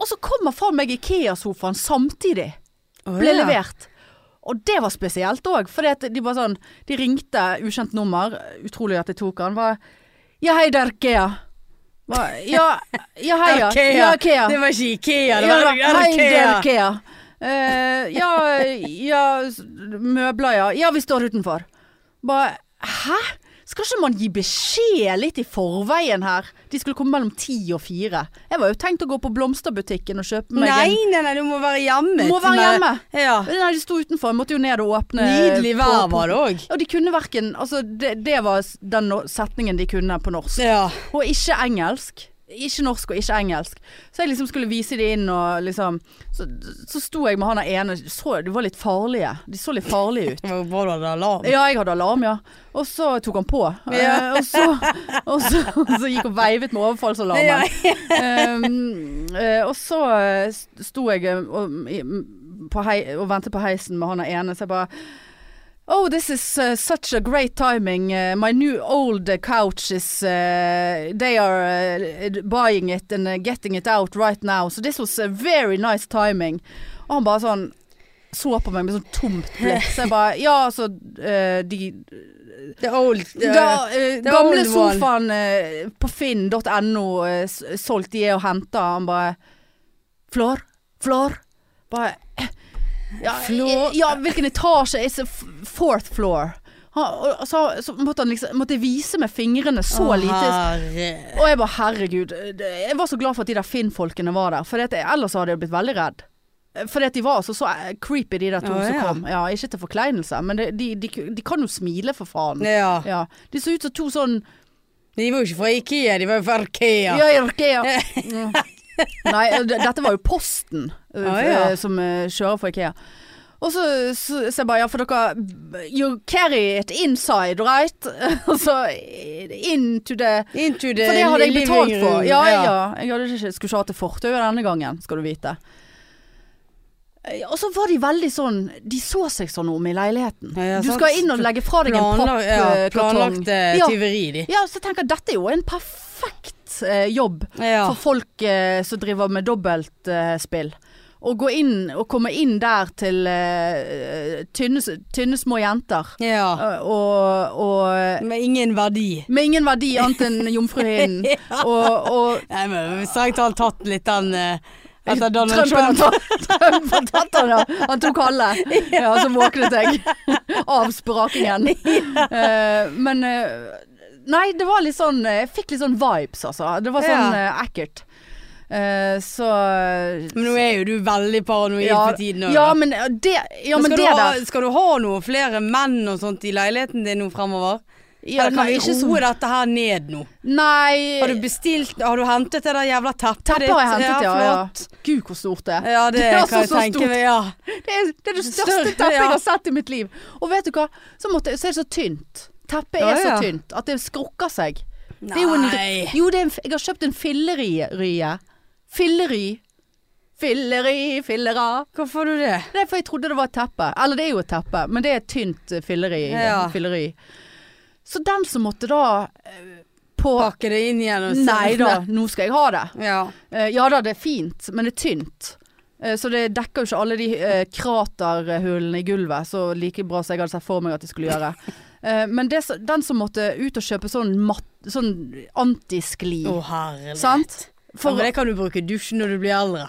[SPEAKER 1] og så kommer faen meg Ikea-sofaen samtidig ble levert. Og det var spesielt òg, for de bare sånn De ringte ukjent nummer, utrolig at jeg tok han, var Ja, hei, det er Kea. Var, Ja, ja, hei, ja.
[SPEAKER 2] Ikea.
[SPEAKER 1] Ja, Kea.
[SPEAKER 2] Det var ikke Ikea, det
[SPEAKER 1] Ja,
[SPEAKER 2] var
[SPEAKER 1] da, hei, det er
[SPEAKER 2] Ikea.
[SPEAKER 1] Kea. Eh, ja, ja, s- møbler, ja. Ja, vi står utenfor. Bare Hæ? Skal ikke man gi beskjed litt i forveien her? De skulle komme mellom ti og fire. Jeg var jo tenkt å gå på blomsterbutikken og kjøpe meg
[SPEAKER 2] Nei,
[SPEAKER 1] en
[SPEAKER 2] nei, nei, du må være hjemme.
[SPEAKER 1] Må være
[SPEAKER 2] Men-
[SPEAKER 1] hjemme.
[SPEAKER 2] Ja.
[SPEAKER 1] Nei, de sto utenfor. Jeg måtte jo ned og åpne.
[SPEAKER 2] Nydelig vær
[SPEAKER 1] på-
[SPEAKER 2] var det òg.
[SPEAKER 1] Og de kunne verken Altså, det, det var s- den no- setningen de kunne på norsk.
[SPEAKER 2] Ja.
[SPEAKER 1] Og ikke engelsk. Ikke norsk og ikke engelsk. Så jeg liksom skulle vise de inn og liksom Så, så sto jeg med han der ene så, De var litt farlige. De så litt farlige ut.
[SPEAKER 2] Det var bra du hadde alarm.
[SPEAKER 1] Ja, jeg hadde alarm, ja. Og så tok han på.
[SPEAKER 2] Ja.
[SPEAKER 1] Eh, og, så, og, så, og så gikk og veivet med overfallsalarmen.
[SPEAKER 2] Ja.
[SPEAKER 1] Ehm, eh, og så eh, st- sto jeg eh, og, i- m- på hei, og ventet på heisen med han og ene, så jeg bare Oh, this is uh, such a great timing. Uh, my new old uh, couch is. Uh, they are uh, buying it and uh, getting it out right now. So this was a very nice timing. Og han bare sånn så på meg med sånn tomt blikk. Så jeg bare Ja, altså eh, de
[SPEAKER 2] The old eh,
[SPEAKER 1] da, eh,
[SPEAKER 2] the
[SPEAKER 1] Gamle
[SPEAKER 2] old one.
[SPEAKER 1] sofaen eh, på finn.no eh, s- solgt de er og henta. Han bare Flår? Flår? Bare eh, ja,
[SPEAKER 2] Flår?
[SPEAKER 1] eh, ja, hvilken etasje? It's a f- fourth floor. Han, og, så, så måtte han liksom Måtte jeg vise med fingrene så
[SPEAKER 2] Å,
[SPEAKER 1] lite.
[SPEAKER 2] herre.
[SPEAKER 1] Og jeg bare herregud. eh, det- Jeg var så glad for at de der Finn-folkene var der. For at jeg, ellers hadde jeg blitt veldig redd. Eh, Fordi at de var altså så eh, creepy, de der to
[SPEAKER 2] Å,
[SPEAKER 1] som
[SPEAKER 2] ja.
[SPEAKER 1] kom. Ja, ikke til forkleinelse, men de, de, de, ku- de kan jo smile, for faen.
[SPEAKER 2] Ja.
[SPEAKER 1] Ja. De så ut som to sånn
[SPEAKER 2] De var jo ikke fra Ikea, de var jo fra Arkea.
[SPEAKER 1] Ja, ja, ok, ja. Mm. Nei, eh, d- dette var jo Posten eh,
[SPEAKER 2] Ah, ja.
[SPEAKER 1] eh, som eh, kjører for Ikea. Og så sier jeg bare ja, for dere You carry it inside, right? Altså into the
[SPEAKER 2] Into the
[SPEAKER 1] For det hadde jeg
[SPEAKER 2] living
[SPEAKER 1] betalt for.
[SPEAKER 2] room.
[SPEAKER 1] Ja, ja. Jeg hadde ikke, skulle ikke hatt det fortauet denne gangen, skal du vite. Eh, Og så var de veldig sånn De så seg sånn om i leiligheten.
[SPEAKER 2] Ja, ja,
[SPEAKER 1] du
[SPEAKER 2] sant.
[SPEAKER 1] skal inn og legge fra deg en
[SPEAKER 2] Planlag, ja,
[SPEAKER 1] pappkartong.
[SPEAKER 2] planlagt eh,
[SPEAKER 1] Ja.
[SPEAKER 2] tyveri, de.
[SPEAKER 1] Ja, så tenker jeg dette er jo en perfekt eh, jobb
[SPEAKER 2] Ja.
[SPEAKER 1] for folk eh, som driver med dobbeltspill. å gå inn og komme inn der til eh, tynne, s- tynne små jenter.
[SPEAKER 2] ja.
[SPEAKER 1] Eh, og, og
[SPEAKER 2] Med ingen verdi.
[SPEAKER 1] med ingen verdi annet enn jomfruhinnen. Og, og
[SPEAKER 2] Nei, men Strengt talt tatt litt den eh, etter Donald
[SPEAKER 1] Trump
[SPEAKER 2] Trump.
[SPEAKER 1] hadde tatt- Trump hadde tatt han, ja. Han tok halve. Ja, så våknet jeg av sprakingen. Eh, men eh, Nei, det var litt sånn eh, Jeg fikk litt sånn vibes, altså. Det var sånn eh, ekkelt. Eh, så
[SPEAKER 2] Men nå er jo du veldig paranoid
[SPEAKER 1] ja,
[SPEAKER 2] for tiden. også,
[SPEAKER 1] ja,
[SPEAKER 2] da.
[SPEAKER 1] men eh, det, ja, men
[SPEAKER 2] skal,
[SPEAKER 1] det
[SPEAKER 2] du ha,
[SPEAKER 1] der
[SPEAKER 2] skal du ha noe flere menn og sånt i leiligheten din nå fremover?
[SPEAKER 1] ja,
[SPEAKER 2] Eller kan
[SPEAKER 1] nei,
[SPEAKER 2] vi
[SPEAKER 1] ikke sånn-
[SPEAKER 2] roe
[SPEAKER 1] så-
[SPEAKER 2] dette her ned nå? Har du
[SPEAKER 1] Nei.
[SPEAKER 2] bestilt Har du hentet det der jævla teppet
[SPEAKER 1] Teppet har jeg hentet, ja. ja.
[SPEAKER 2] flott.
[SPEAKER 1] Gud, hvor stort det er.
[SPEAKER 2] Ja, det,
[SPEAKER 1] Det er
[SPEAKER 2] kan
[SPEAKER 1] altså
[SPEAKER 2] jeg
[SPEAKER 1] så
[SPEAKER 2] tenke
[SPEAKER 1] stort.
[SPEAKER 2] meg. Ja.
[SPEAKER 1] Det er det, er det største
[SPEAKER 2] Større,
[SPEAKER 1] teppet
[SPEAKER 2] ja.
[SPEAKER 1] jeg har sett i mitt liv. Og vet du hva, så, måtte, så er det så tynt. Teppet er
[SPEAKER 2] Ja, ja.
[SPEAKER 1] så tynt at det skrukker seg. Det er jo en,
[SPEAKER 2] Nei.
[SPEAKER 1] jo, det er en, jeg har kjøpt en fillerie. Filleri. Filleri, fillera.
[SPEAKER 2] Hvorfor har du det?
[SPEAKER 1] Det er for jeg trodde det var et teppe. Eller det er jo et teppe, men det er et tynt eh, filleri.
[SPEAKER 2] Ja.
[SPEAKER 1] filleri. Så den som måtte da eh, på
[SPEAKER 2] Pakke det inn igjen og se-
[SPEAKER 1] Nei da, nå skal jeg ha det.
[SPEAKER 2] Ja.
[SPEAKER 1] Eh, ja da, det er fint, men det er tynt. Eh, Så det dekker jo ikke alle de eh, kraterhullene i gulvet så like bra som jeg hadde sett for meg at de skulle gjøre. Eh, men det, som- den som måtte ut og kjøpe sånn, matt, sånn antiskli,
[SPEAKER 2] Å herre.
[SPEAKER 1] sant?
[SPEAKER 2] Ja, men
[SPEAKER 1] Sånn, For,
[SPEAKER 2] det kan du bruke i dusjen når du blir eldre.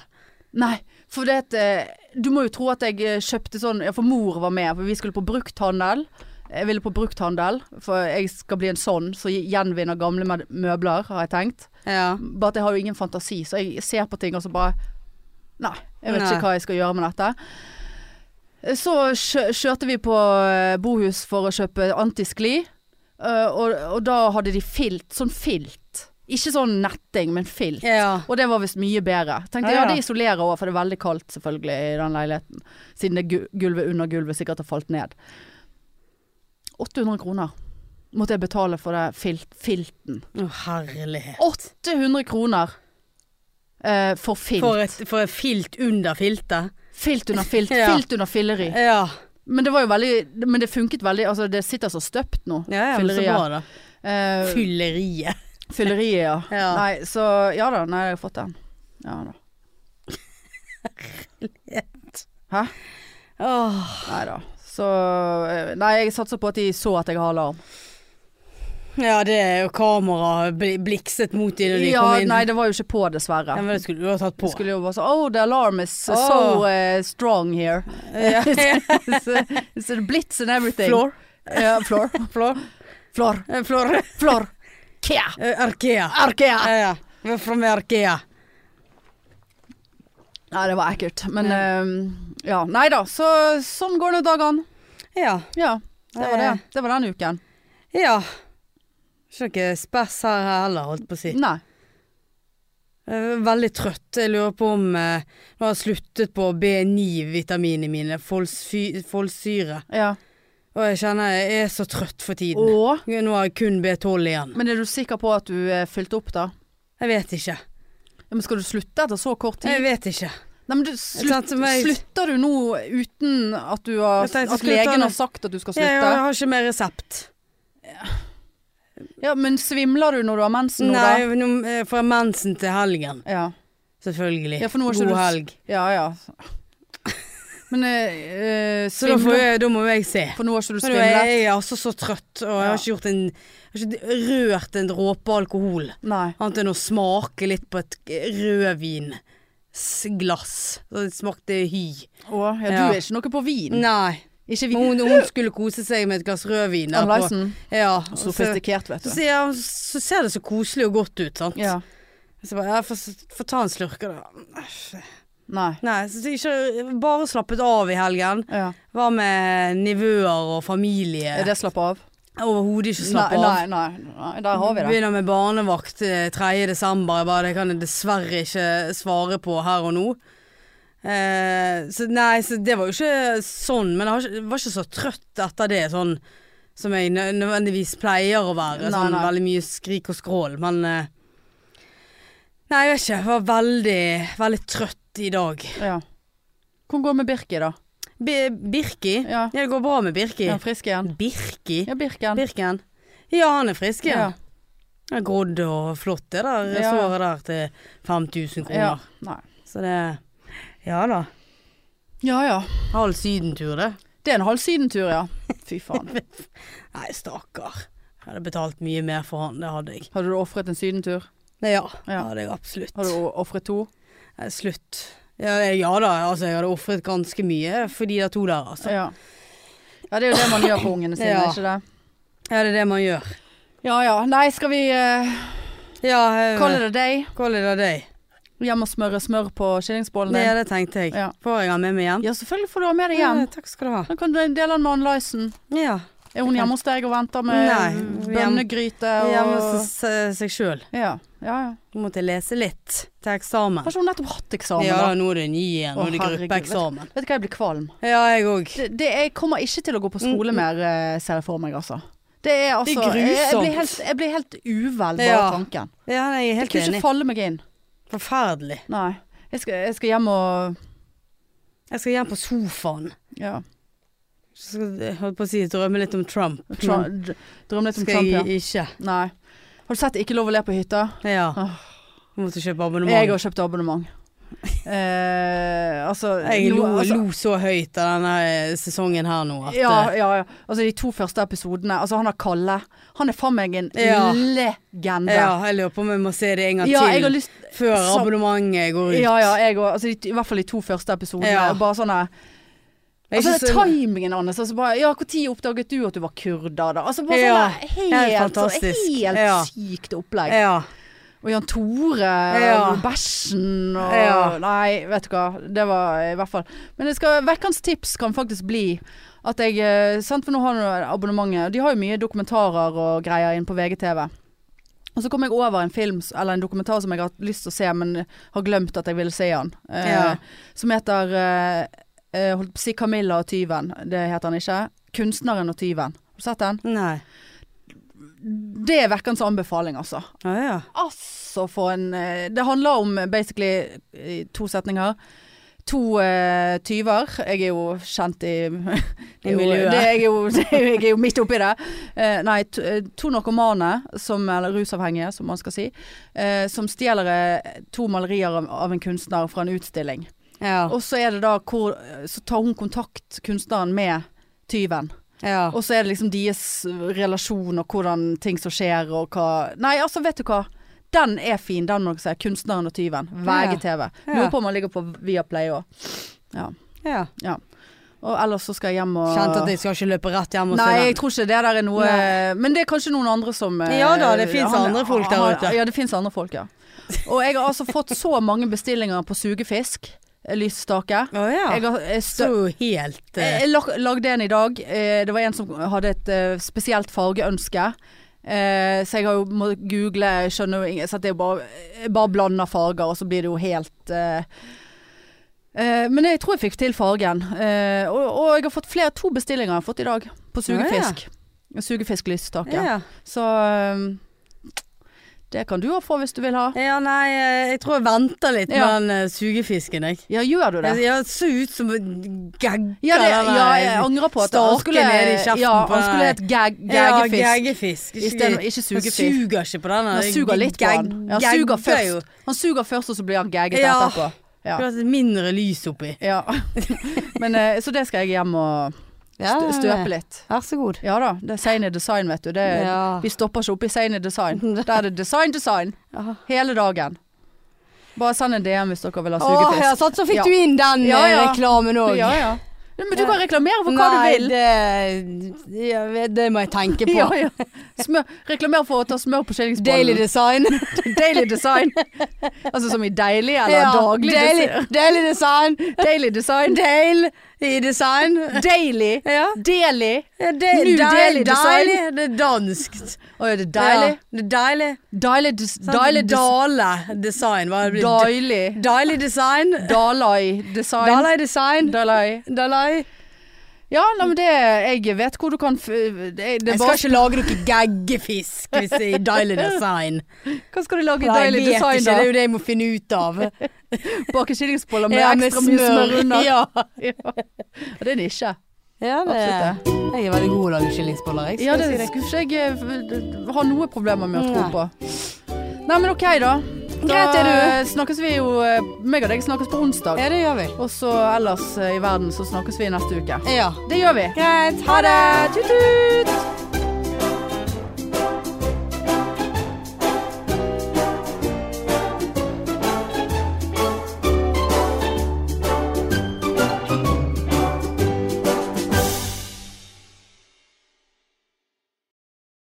[SPEAKER 1] nei, for det at eh, Du må jo tro at jeg eh, kjøpte sånn Ja, for mor var med, for vi skulle på brukthandel. Jeg ville på brukthandel, for jeg skal bli en sånn som gjenvinner gamle med- møbler, har jeg tenkt.
[SPEAKER 2] Ja.
[SPEAKER 1] Bare at jeg har jo ingen fantasi, så jeg ser på ting og så bare Nei, jeg vet
[SPEAKER 2] Nei.
[SPEAKER 1] ikke hva jeg skal gjøre med dette. Så kjø- kjørte vi på eh, Bohus for å kjøpe antiskli, eh, og, og da hadde de filt. Sånn filt. Ikke sånn netting, men filt.
[SPEAKER 2] ja.
[SPEAKER 1] Og det var visst mye bedre. Tenkte
[SPEAKER 2] Ja,
[SPEAKER 1] ja,
[SPEAKER 2] ja.
[SPEAKER 1] det isolerer òg, for det er veldig kaldt selvfølgelig i den leiligheten. Siden det gu- gulvet under gulvet sikkert har falt ned. 800 kroner måtte jeg betale for det filt, filten.
[SPEAKER 2] Å herlighet.
[SPEAKER 1] 800 kroner eh, for filt.
[SPEAKER 2] For et, for et filt under filtet.
[SPEAKER 1] Filt under filt.
[SPEAKER 2] Ja.
[SPEAKER 1] Filt under filleri.
[SPEAKER 2] Ja.
[SPEAKER 1] Men det var jo veldig Men det funket veldig. Altså, det sitter så støpt nå.
[SPEAKER 2] ja, ja men så
[SPEAKER 1] Fylleriet.
[SPEAKER 2] bra, da.
[SPEAKER 1] Eh,
[SPEAKER 2] Fylleriet.
[SPEAKER 1] fylleriet, ja.
[SPEAKER 2] Ja.
[SPEAKER 1] Nei, så Ja da. Nei, jeg har fått den. Ja da. Hæ?
[SPEAKER 2] Åh.
[SPEAKER 1] Nei da. Så eh, Nei, jeg satser på at de så at jeg har alarm.
[SPEAKER 2] Ja, det er jo kamera bli- blikset mot dem når de
[SPEAKER 1] Ja,
[SPEAKER 2] kom inn.
[SPEAKER 1] nei, det var jo ikke på,
[SPEAKER 2] ja,
[SPEAKER 1] dessverre.
[SPEAKER 2] men det skulle du ha tatt på.
[SPEAKER 1] Det skulle jo være sånn Oh, the alarm is so
[SPEAKER 2] Åh.
[SPEAKER 1] eh, strong here.
[SPEAKER 2] Ja.
[SPEAKER 1] It's, it's a blitz and everything.
[SPEAKER 2] Floor.
[SPEAKER 1] Ja, floor.
[SPEAKER 2] Flår.
[SPEAKER 1] Flor.
[SPEAKER 2] Eh, Flår.
[SPEAKER 1] Flor. Kea.
[SPEAKER 2] Eh, Arkea.
[SPEAKER 1] Arkea.
[SPEAKER 2] Ja, ja. Vi er fra med Arkea.
[SPEAKER 1] Nei, det var ekkelt. Men
[SPEAKER 2] Ja.
[SPEAKER 1] ja, ja. nei da. Så sånn går nå dagene.
[SPEAKER 2] Ja.
[SPEAKER 1] Ja, det var det.
[SPEAKER 2] Eh.
[SPEAKER 1] Det var den uken.
[SPEAKER 2] Ja. Ikke noe spess her heller, holdt på å si.
[SPEAKER 1] Nei.
[SPEAKER 2] Jeg er veldig trøtt. Jeg lurer på om eh, Nå har jeg sluttet på B9-vitaminene mine, folsfy- folsyre.
[SPEAKER 1] Ja.
[SPEAKER 2] Og jeg kjenner jeg er så trøtt for tiden.
[SPEAKER 1] Og
[SPEAKER 2] Nå har jeg kun B12 igjen.
[SPEAKER 1] Men er du sikker på at du eh, fylte opp, da?
[SPEAKER 2] Jeg vet ikke.
[SPEAKER 1] Ja, men skal du slutte etter så kort
[SPEAKER 2] Jeg
[SPEAKER 1] tid?
[SPEAKER 2] vet ikke.
[SPEAKER 1] Nei, men du, slutt,
[SPEAKER 2] Sant, som jeg-
[SPEAKER 1] slutter du nå uten at, du har,
[SPEAKER 2] Jeg tenkte jeg
[SPEAKER 1] at
[SPEAKER 2] skulle ta
[SPEAKER 1] legen
[SPEAKER 2] det.
[SPEAKER 1] har sagt at du skal
[SPEAKER 2] Jeg, jeg
[SPEAKER 1] slutte?
[SPEAKER 2] har ikke mer resept.
[SPEAKER 1] Ja, men svimler du når du har mensen nå,
[SPEAKER 2] Nei,
[SPEAKER 1] da?
[SPEAKER 2] nå- eh, fra mensen til helgen.
[SPEAKER 1] Ja.
[SPEAKER 2] Selvfølgelig.
[SPEAKER 1] Ja, for nå har ikke
[SPEAKER 2] God
[SPEAKER 1] du-
[SPEAKER 2] helg.
[SPEAKER 1] ja ja. Men eh, eh,
[SPEAKER 2] Så da, får
[SPEAKER 1] svimler
[SPEAKER 2] jeg, da må jeg se.
[SPEAKER 1] For nå har ikke du
[SPEAKER 2] Men nå er
[SPEAKER 1] svimlet?
[SPEAKER 2] jeg er altså så trøtt, og jeg
[SPEAKER 1] Ja.
[SPEAKER 2] har ikke, gjort en, jeg har ikke rørt en dråpe alkohol.
[SPEAKER 1] Nei.
[SPEAKER 2] Annet enn å smake litt på et rødvinsglass. Så det smakte hy.
[SPEAKER 1] Å, ja, du
[SPEAKER 2] Ja.
[SPEAKER 1] er ikke noe på vin?
[SPEAKER 2] Nei.
[SPEAKER 1] Ikke
[SPEAKER 2] Men
[SPEAKER 1] vin.
[SPEAKER 2] Hun, hun skulle kose seg med et glass rødvin. der på-
[SPEAKER 1] Anleisen.
[SPEAKER 2] Ja. og Så, så,
[SPEAKER 1] Sofistikert, vet du.
[SPEAKER 2] ser- ja, så ser det så koselig og godt ut, sant.
[SPEAKER 1] Ja.
[SPEAKER 2] Så jeg bare, ja, få- få ta en slurk av det. Æsj.
[SPEAKER 1] Nei.
[SPEAKER 2] Nei, så det er ikke, bare slappet av i helgen.
[SPEAKER 1] Ja.
[SPEAKER 2] Hva med nivøer og familie?
[SPEAKER 1] Er det slapp av?
[SPEAKER 2] Overhodet ikke slapp av.
[SPEAKER 1] Nei, nei, nei, nei, der har vi det.
[SPEAKER 2] Begynner med barnevakt eh, 3. desember. Jeg bare, det kan jeg dessverre ikke svare på her og nå. Eh, så nei, så det var jo ikke sånn. Men jeg har ikke, jeg var ikke så trøtt etter det, sånn som jeg nø- nødvendigvis pleier å være.
[SPEAKER 1] Nei,
[SPEAKER 2] sånn
[SPEAKER 1] nei.
[SPEAKER 2] veldig mye skrik og skrål. Men eh, Nei, jeg vet ikke. Jeg var veldig, veldig trøtt i dag.
[SPEAKER 1] Ja. Hvordan går det med Birki, da?
[SPEAKER 2] B Birki? Ja.
[SPEAKER 1] Ja.
[SPEAKER 2] det går bra med Birki.
[SPEAKER 1] Er han frisk igjen?
[SPEAKER 2] Birki?
[SPEAKER 1] Ja, Birken.
[SPEAKER 2] Birken? Ja, han er frisk, ja.
[SPEAKER 1] Ja.
[SPEAKER 2] Det er grodd og flott det der
[SPEAKER 1] Ja.
[SPEAKER 2] såret der til 5000 kroner.
[SPEAKER 1] Ja. Nei.
[SPEAKER 2] Så det Ja da.
[SPEAKER 1] ja ja.
[SPEAKER 2] Halv sydentur, det.
[SPEAKER 1] Det er en halv sydentur, ja. Fy faen.
[SPEAKER 2] Nei, stakkar. Jeg hadde betalt mye mer for han, det hadde jeg.
[SPEAKER 1] Hadde du ofret en sydentur?
[SPEAKER 2] Nei, ja, det
[SPEAKER 1] Ja.
[SPEAKER 2] hadde jeg absolutt.
[SPEAKER 1] Hadde du ofret to?
[SPEAKER 2] Nei, slutt. Ja, ja da, altså jeg hadde ofret ganske mye for de der to der, altså.
[SPEAKER 1] Ja. ja, det er jo det man gjør for ungene sine,
[SPEAKER 2] Ja.
[SPEAKER 1] er ikke det?
[SPEAKER 2] Ja, det er det man gjør.
[SPEAKER 1] Ja ja. Nei, skal vi uh,
[SPEAKER 2] Ja, jeg-
[SPEAKER 1] kalle det day?
[SPEAKER 2] Call it a day.
[SPEAKER 1] Hjem og smøre smør på skillingsbollen
[SPEAKER 2] Det,
[SPEAKER 1] din?
[SPEAKER 2] det tenkte jeg.
[SPEAKER 1] Ja.
[SPEAKER 2] Får jeg han med meg hjem?
[SPEAKER 1] Ja, selvfølgelig får du ha med deg hjem.
[SPEAKER 2] Ja, takk skal du ha.
[SPEAKER 1] Da kan du dele den med Ann-Lysen.
[SPEAKER 2] Ja.
[SPEAKER 1] Er hun hjemme hos deg og venter med
[SPEAKER 2] Nei,
[SPEAKER 1] bønnegryte og
[SPEAKER 2] Hjemme hos s- seg sjøl.
[SPEAKER 1] Ja, ja, ja.
[SPEAKER 2] Nå måtte jeg lese litt til eksamen.
[SPEAKER 1] Har ikke hun nettopp hatt eksamen?
[SPEAKER 2] Ja,
[SPEAKER 1] da?
[SPEAKER 2] nå er det ny igjen. Nå
[SPEAKER 1] Å,
[SPEAKER 2] er det
[SPEAKER 1] herregud.
[SPEAKER 2] gruppeeksamen.
[SPEAKER 1] Vet du hva, jeg blir kvalm.
[SPEAKER 2] Ja, jeg òg.
[SPEAKER 1] Det, det, jeg kommer ikke til å gå på skole
[SPEAKER 2] Mm.
[SPEAKER 1] mer, eh, ser jeg for meg, altså. Det er altså
[SPEAKER 2] Det er
[SPEAKER 1] jeg, jeg,
[SPEAKER 2] grusomt.
[SPEAKER 1] blir helt, jeg blir helt uvel bare
[SPEAKER 2] Ja,
[SPEAKER 1] av tanken.
[SPEAKER 2] Ja, nei, jeg er
[SPEAKER 1] Jeg
[SPEAKER 2] helt
[SPEAKER 1] kunne
[SPEAKER 2] enig.
[SPEAKER 1] ikke falle meg inn.
[SPEAKER 2] Forferdelig.
[SPEAKER 1] Nei. Jeg skal, jeg skal hjem og
[SPEAKER 2] Jeg skal hjem på sofaen.
[SPEAKER 1] ja,
[SPEAKER 2] Så skal jeg holdt på å si drømme litt om Trump.
[SPEAKER 1] tra- dr-
[SPEAKER 2] Men
[SPEAKER 1] drømme litt om
[SPEAKER 2] skal
[SPEAKER 1] Trump, ja.
[SPEAKER 2] jeg ikke.
[SPEAKER 1] Nei. Har du sett Ikke lov å le på hytta?
[SPEAKER 2] Ja.
[SPEAKER 1] Åh.
[SPEAKER 2] Jeg måtte kjøpe
[SPEAKER 1] Jeg
[SPEAKER 2] abonnement.
[SPEAKER 1] har kjøpt abonnement. Eh, altså,
[SPEAKER 2] Jeg
[SPEAKER 1] nå-
[SPEAKER 2] lo,
[SPEAKER 1] altså,
[SPEAKER 2] lo så høyt av denne eh, sesongen her nå at
[SPEAKER 1] ja,
[SPEAKER 2] eh,
[SPEAKER 1] ja, ja. Altså de to første episodene. Altså han er Kalle. Han er faen meg en
[SPEAKER 2] Ja.
[SPEAKER 1] legende.
[SPEAKER 2] ja, jeg lurer på om jeg må se det en gang
[SPEAKER 1] Ja, jeg har
[SPEAKER 2] til
[SPEAKER 1] lyst
[SPEAKER 2] før
[SPEAKER 1] så-
[SPEAKER 2] abonnementet går ut.
[SPEAKER 1] Ja, ja, jeg òg. Altså, de- I hvert fall de to første episodene.
[SPEAKER 2] Ja.
[SPEAKER 1] og Bare sånne
[SPEAKER 2] Jeg er
[SPEAKER 1] Altså,
[SPEAKER 2] ikke så-
[SPEAKER 1] timingen hans. Altså, bare, ja, når oppdaget du at du var kurder, da? Altså, bare
[SPEAKER 2] Ja,
[SPEAKER 1] sånne helt,
[SPEAKER 2] helt
[SPEAKER 1] sånn,
[SPEAKER 2] fantastisk.
[SPEAKER 1] helt
[SPEAKER 2] Ja.
[SPEAKER 1] sykt opplegg.
[SPEAKER 2] ja.
[SPEAKER 1] Og Jan Tore
[SPEAKER 2] Ja.
[SPEAKER 1] og bæsjen og
[SPEAKER 2] Ja.
[SPEAKER 1] Nei, vet du hva. Det var i hvert fall Men det skal, vekkens tips kan faktisk bli at jeg eh, sant, For nå har jeg abonnementet. De har jo mye dokumentarer og greier inn på VGTV. Og så kom jeg over en film, s- eller en dokumentar som jeg har hatt lyst til å se, men har glemt at jeg ville se den. Eh,
[SPEAKER 2] Ja.
[SPEAKER 1] Som heter eh, eh, Holdt på å si Camilla og tyven. Det heter den ikke. Kunstneren og tyven. Har du sett den?
[SPEAKER 2] Nei. Mm.
[SPEAKER 1] Det er vekkens anbefaling, altså.
[SPEAKER 2] Ja, ja.
[SPEAKER 1] Altså for en eh, Det handler om eh, basically eh, to setninger. To eh, tyver. Jeg er jo kjent i, det er jo-
[SPEAKER 2] miljøet.
[SPEAKER 1] Det, jeg, er jo, det, er jo- jeg er jo midt oppi det. Eh, nei, to, eh, to narkomane, som, eller rusavhengige som man skal si, eh, som stjeler eh, to malerier av, av en kunstner fra en utstilling.
[SPEAKER 2] Ja.
[SPEAKER 1] Og så er det da hvor eh, Så tar hun kontakt, kunstneren, med tyven.
[SPEAKER 2] ja.
[SPEAKER 1] Og så er det liksom deres relasjon og hvordan ting som skjer og hva Nei, altså, vet du hva. Den er fin, den må dere se. 'Kunstneren og tyven'. VGTV.
[SPEAKER 2] Ja.
[SPEAKER 1] Lurer på om den ligger på Viaplay òg.
[SPEAKER 2] ja.
[SPEAKER 1] Og ellers så skal jeg hjem og
[SPEAKER 2] Kjente at jeg skal ikke løpe rett hjem og se
[SPEAKER 1] Nei,
[SPEAKER 2] den.
[SPEAKER 1] jeg tror ikke det der er noe
[SPEAKER 2] Nei.
[SPEAKER 1] Men det er kanskje noen andre som eh,
[SPEAKER 2] Ja da, det finnes
[SPEAKER 1] han-
[SPEAKER 2] andre folk der
[SPEAKER 1] han-
[SPEAKER 2] ute.
[SPEAKER 1] Ja, det finnes andre folk, ja. Og jeg har altså fått så mange bestillinger på sugefisk. eh, Lysstake.
[SPEAKER 2] Å ja.
[SPEAKER 1] Jeg har eh, stø
[SPEAKER 2] så helt eh,
[SPEAKER 1] Jeg lag- lagde en i dag. Eh, Det var en som hadde et eh, spesielt fargeønske. Eh, Så jeg har jo må google, jeg skjønner jo ingen Så at det er bare, jeg bare blander farger, og så blir det jo helt eh, eh, Men jeg tror jeg fikk til fargen. Eh, Og, og jeg har fått flere, to bestillinger jeg har fått i dag på sugefisk. Sugefisklystake.
[SPEAKER 2] ja.
[SPEAKER 1] Så eh, Det kan du òg få hvis du vil ha.
[SPEAKER 2] Ja, nei, eh, jeg tror jeg venter litt
[SPEAKER 1] Ja.
[SPEAKER 2] med den eh, sugefisken, jeg.
[SPEAKER 1] Ja, gjør du det?
[SPEAKER 2] Jeg, jeg så ut som en gagga.
[SPEAKER 1] Ja, det, ja jeg angrer på at han
[SPEAKER 2] Stake
[SPEAKER 1] skulle,
[SPEAKER 2] ned i kjeften
[SPEAKER 1] ja,
[SPEAKER 2] på
[SPEAKER 1] han
[SPEAKER 2] deg.
[SPEAKER 1] skulle hett gag,
[SPEAKER 2] Ja,
[SPEAKER 1] gaggefisk.
[SPEAKER 2] gaggefisk.
[SPEAKER 1] I stedet- ikke
[SPEAKER 2] Han
[SPEAKER 1] sugefisk.
[SPEAKER 2] suger ikke på den. eh,
[SPEAKER 1] Han
[SPEAKER 2] den
[SPEAKER 1] suger litt på
[SPEAKER 2] gag-
[SPEAKER 1] han. Ja, han suger
[SPEAKER 2] gagger jo.
[SPEAKER 1] først, han suger først og så blir han gagget
[SPEAKER 2] Ja.
[SPEAKER 1] etterpå. Ja.
[SPEAKER 2] Skulle hatt mindre lys oppi.
[SPEAKER 1] Ja. Men, eh, så det skal jeg hjem og stø- støpe litt.
[SPEAKER 2] Vær så god.
[SPEAKER 1] Ja da. Det er Sane Design, vet du. Det,
[SPEAKER 2] Ja.
[SPEAKER 1] Vi stopper ikke oppe i Sane Design. Der er det design, design. Hele dagen. Bare send en DM hvis dere vil ha
[SPEAKER 3] Åh, ja,
[SPEAKER 1] sugefisk.
[SPEAKER 3] sant, så fikk
[SPEAKER 1] Ja.
[SPEAKER 3] du inn den
[SPEAKER 1] Ja,
[SPEAKER 3] eh,
[SPEAKER 1] ja.
[SPEAKER 3] reklamen òg.
[SPEAKER 1] Ja, ja. Men du kan reklamere for hva
[SPEAKER 3] Nei,
[SPEAKER 1] du vil.
[SPEAKER 3] det, jeg vet- det må jeg tenke på.
[SPEAKER 1] Ja, ja. Smør, reklamer for å ta smør på
[SPEAKER 3] Daily
[SPEAKER 1] skillingsbollen.
[SPEAKER 3] design.
[SPEAKER 1] Daily design. Altså som i deilig eller
[SPEAKER 3] Ja,
[SPEAKER 1] daglig
[SPEAKER 3] daily,
[SPEAKER 1] design.
[SPEAKER 3] daily design.
[SPEAKER 1] Daily design.
[SPEAKER 3] Daily design.
[SPEAKER 1] Daily.
[SPEAKER 3] Ja.
[SPEAKER 1] Daily.
[SPEAKER 2] Ja, det
[SPEAKER 1] New Daily Design.
[SPEAKER 2] deilig. Det er danskt.
[SPEAKER 1] Å ja, det er
[SPEAKER 2] Ja,
[SPEAKER 1] deilig.
[SPEAKER 2] Sånn det er deilig.
[SPEAKER 1] Deilig des-
[SPEAKER 2] Sant?
[SPEAKER 1] Deilig des-
[SPEAKER 2] Dale design. Hva det blir det?
[SPEAKER 1] Deilig.
[SPEAKER 2] Deilig design.
[SPEAKER 1] Dalai design.
[SPEAKER 2] Dalai design.
[SPEAKER 1] Dalai.
[SPEAKER 2] Dalai.
[SPEAKER 1] Ja, nei, men det Jeg vet hvor du kan f... Det, det er
[SPEAKER 2] Jeg skal
[SPEAKER 1] bare,
[SPEAKER 2] ikke lage noe gaggefisk hvis det er deilig design.
[SPEAKER 1] hva skal du lage i
[SPEAKER 2] Nei, jeg
[SPEAKER 1] deilig
[SPEAKER 2] vet
[SPEAKER 1] design,
[SPEAKER 2] ikke, det er
[SPEAKER 1] da?
[SPEAKER 2] jo det jeg må finne ut av.
[SPEAKER 1] Bake skillingsboller med
[SPEAKER 2] Ja,
[SPEAKER 1] ekstra mye smør under.
[SPEAKER 2] Ja.
[SPEAKER 1] Ja. Det er en nisje.
[SPEAKER 3] Ja, det,
[SPEAKER 1] Absolutt
[SPEAKER 3] jeg er veldig god til å lage skillingsboller. Jeg, skal
[SPEAKER 1] Ja,
[SPEAKER 3] jeg si
[SPEAKER 1] det
[SPEAKER 3] deg.
[SPEAKER 1] skulle ikke jeg eh, ha noe problemer med å tro
[SPEAKER 3] Nei.
[SPEAKER 1] på. Nei, men OK, da. da
[SPEAKER 3] Greit er du.
[SPEAKER 1] eh, Snakkes vi jo eh, Meg og deg snakkes på onsdag.
[SPEAKER 3] ja, det gjør vi.
[SPEAKER 1] Og så ellers eh, i verden så snakkes vi neste uke.
[SPEAKER 3] Ja.
[SPEAKER 1] Det gjør vi.
[SPEAKER 3] Greit. Ha det.
[SPEAKER 1] Tut-tut!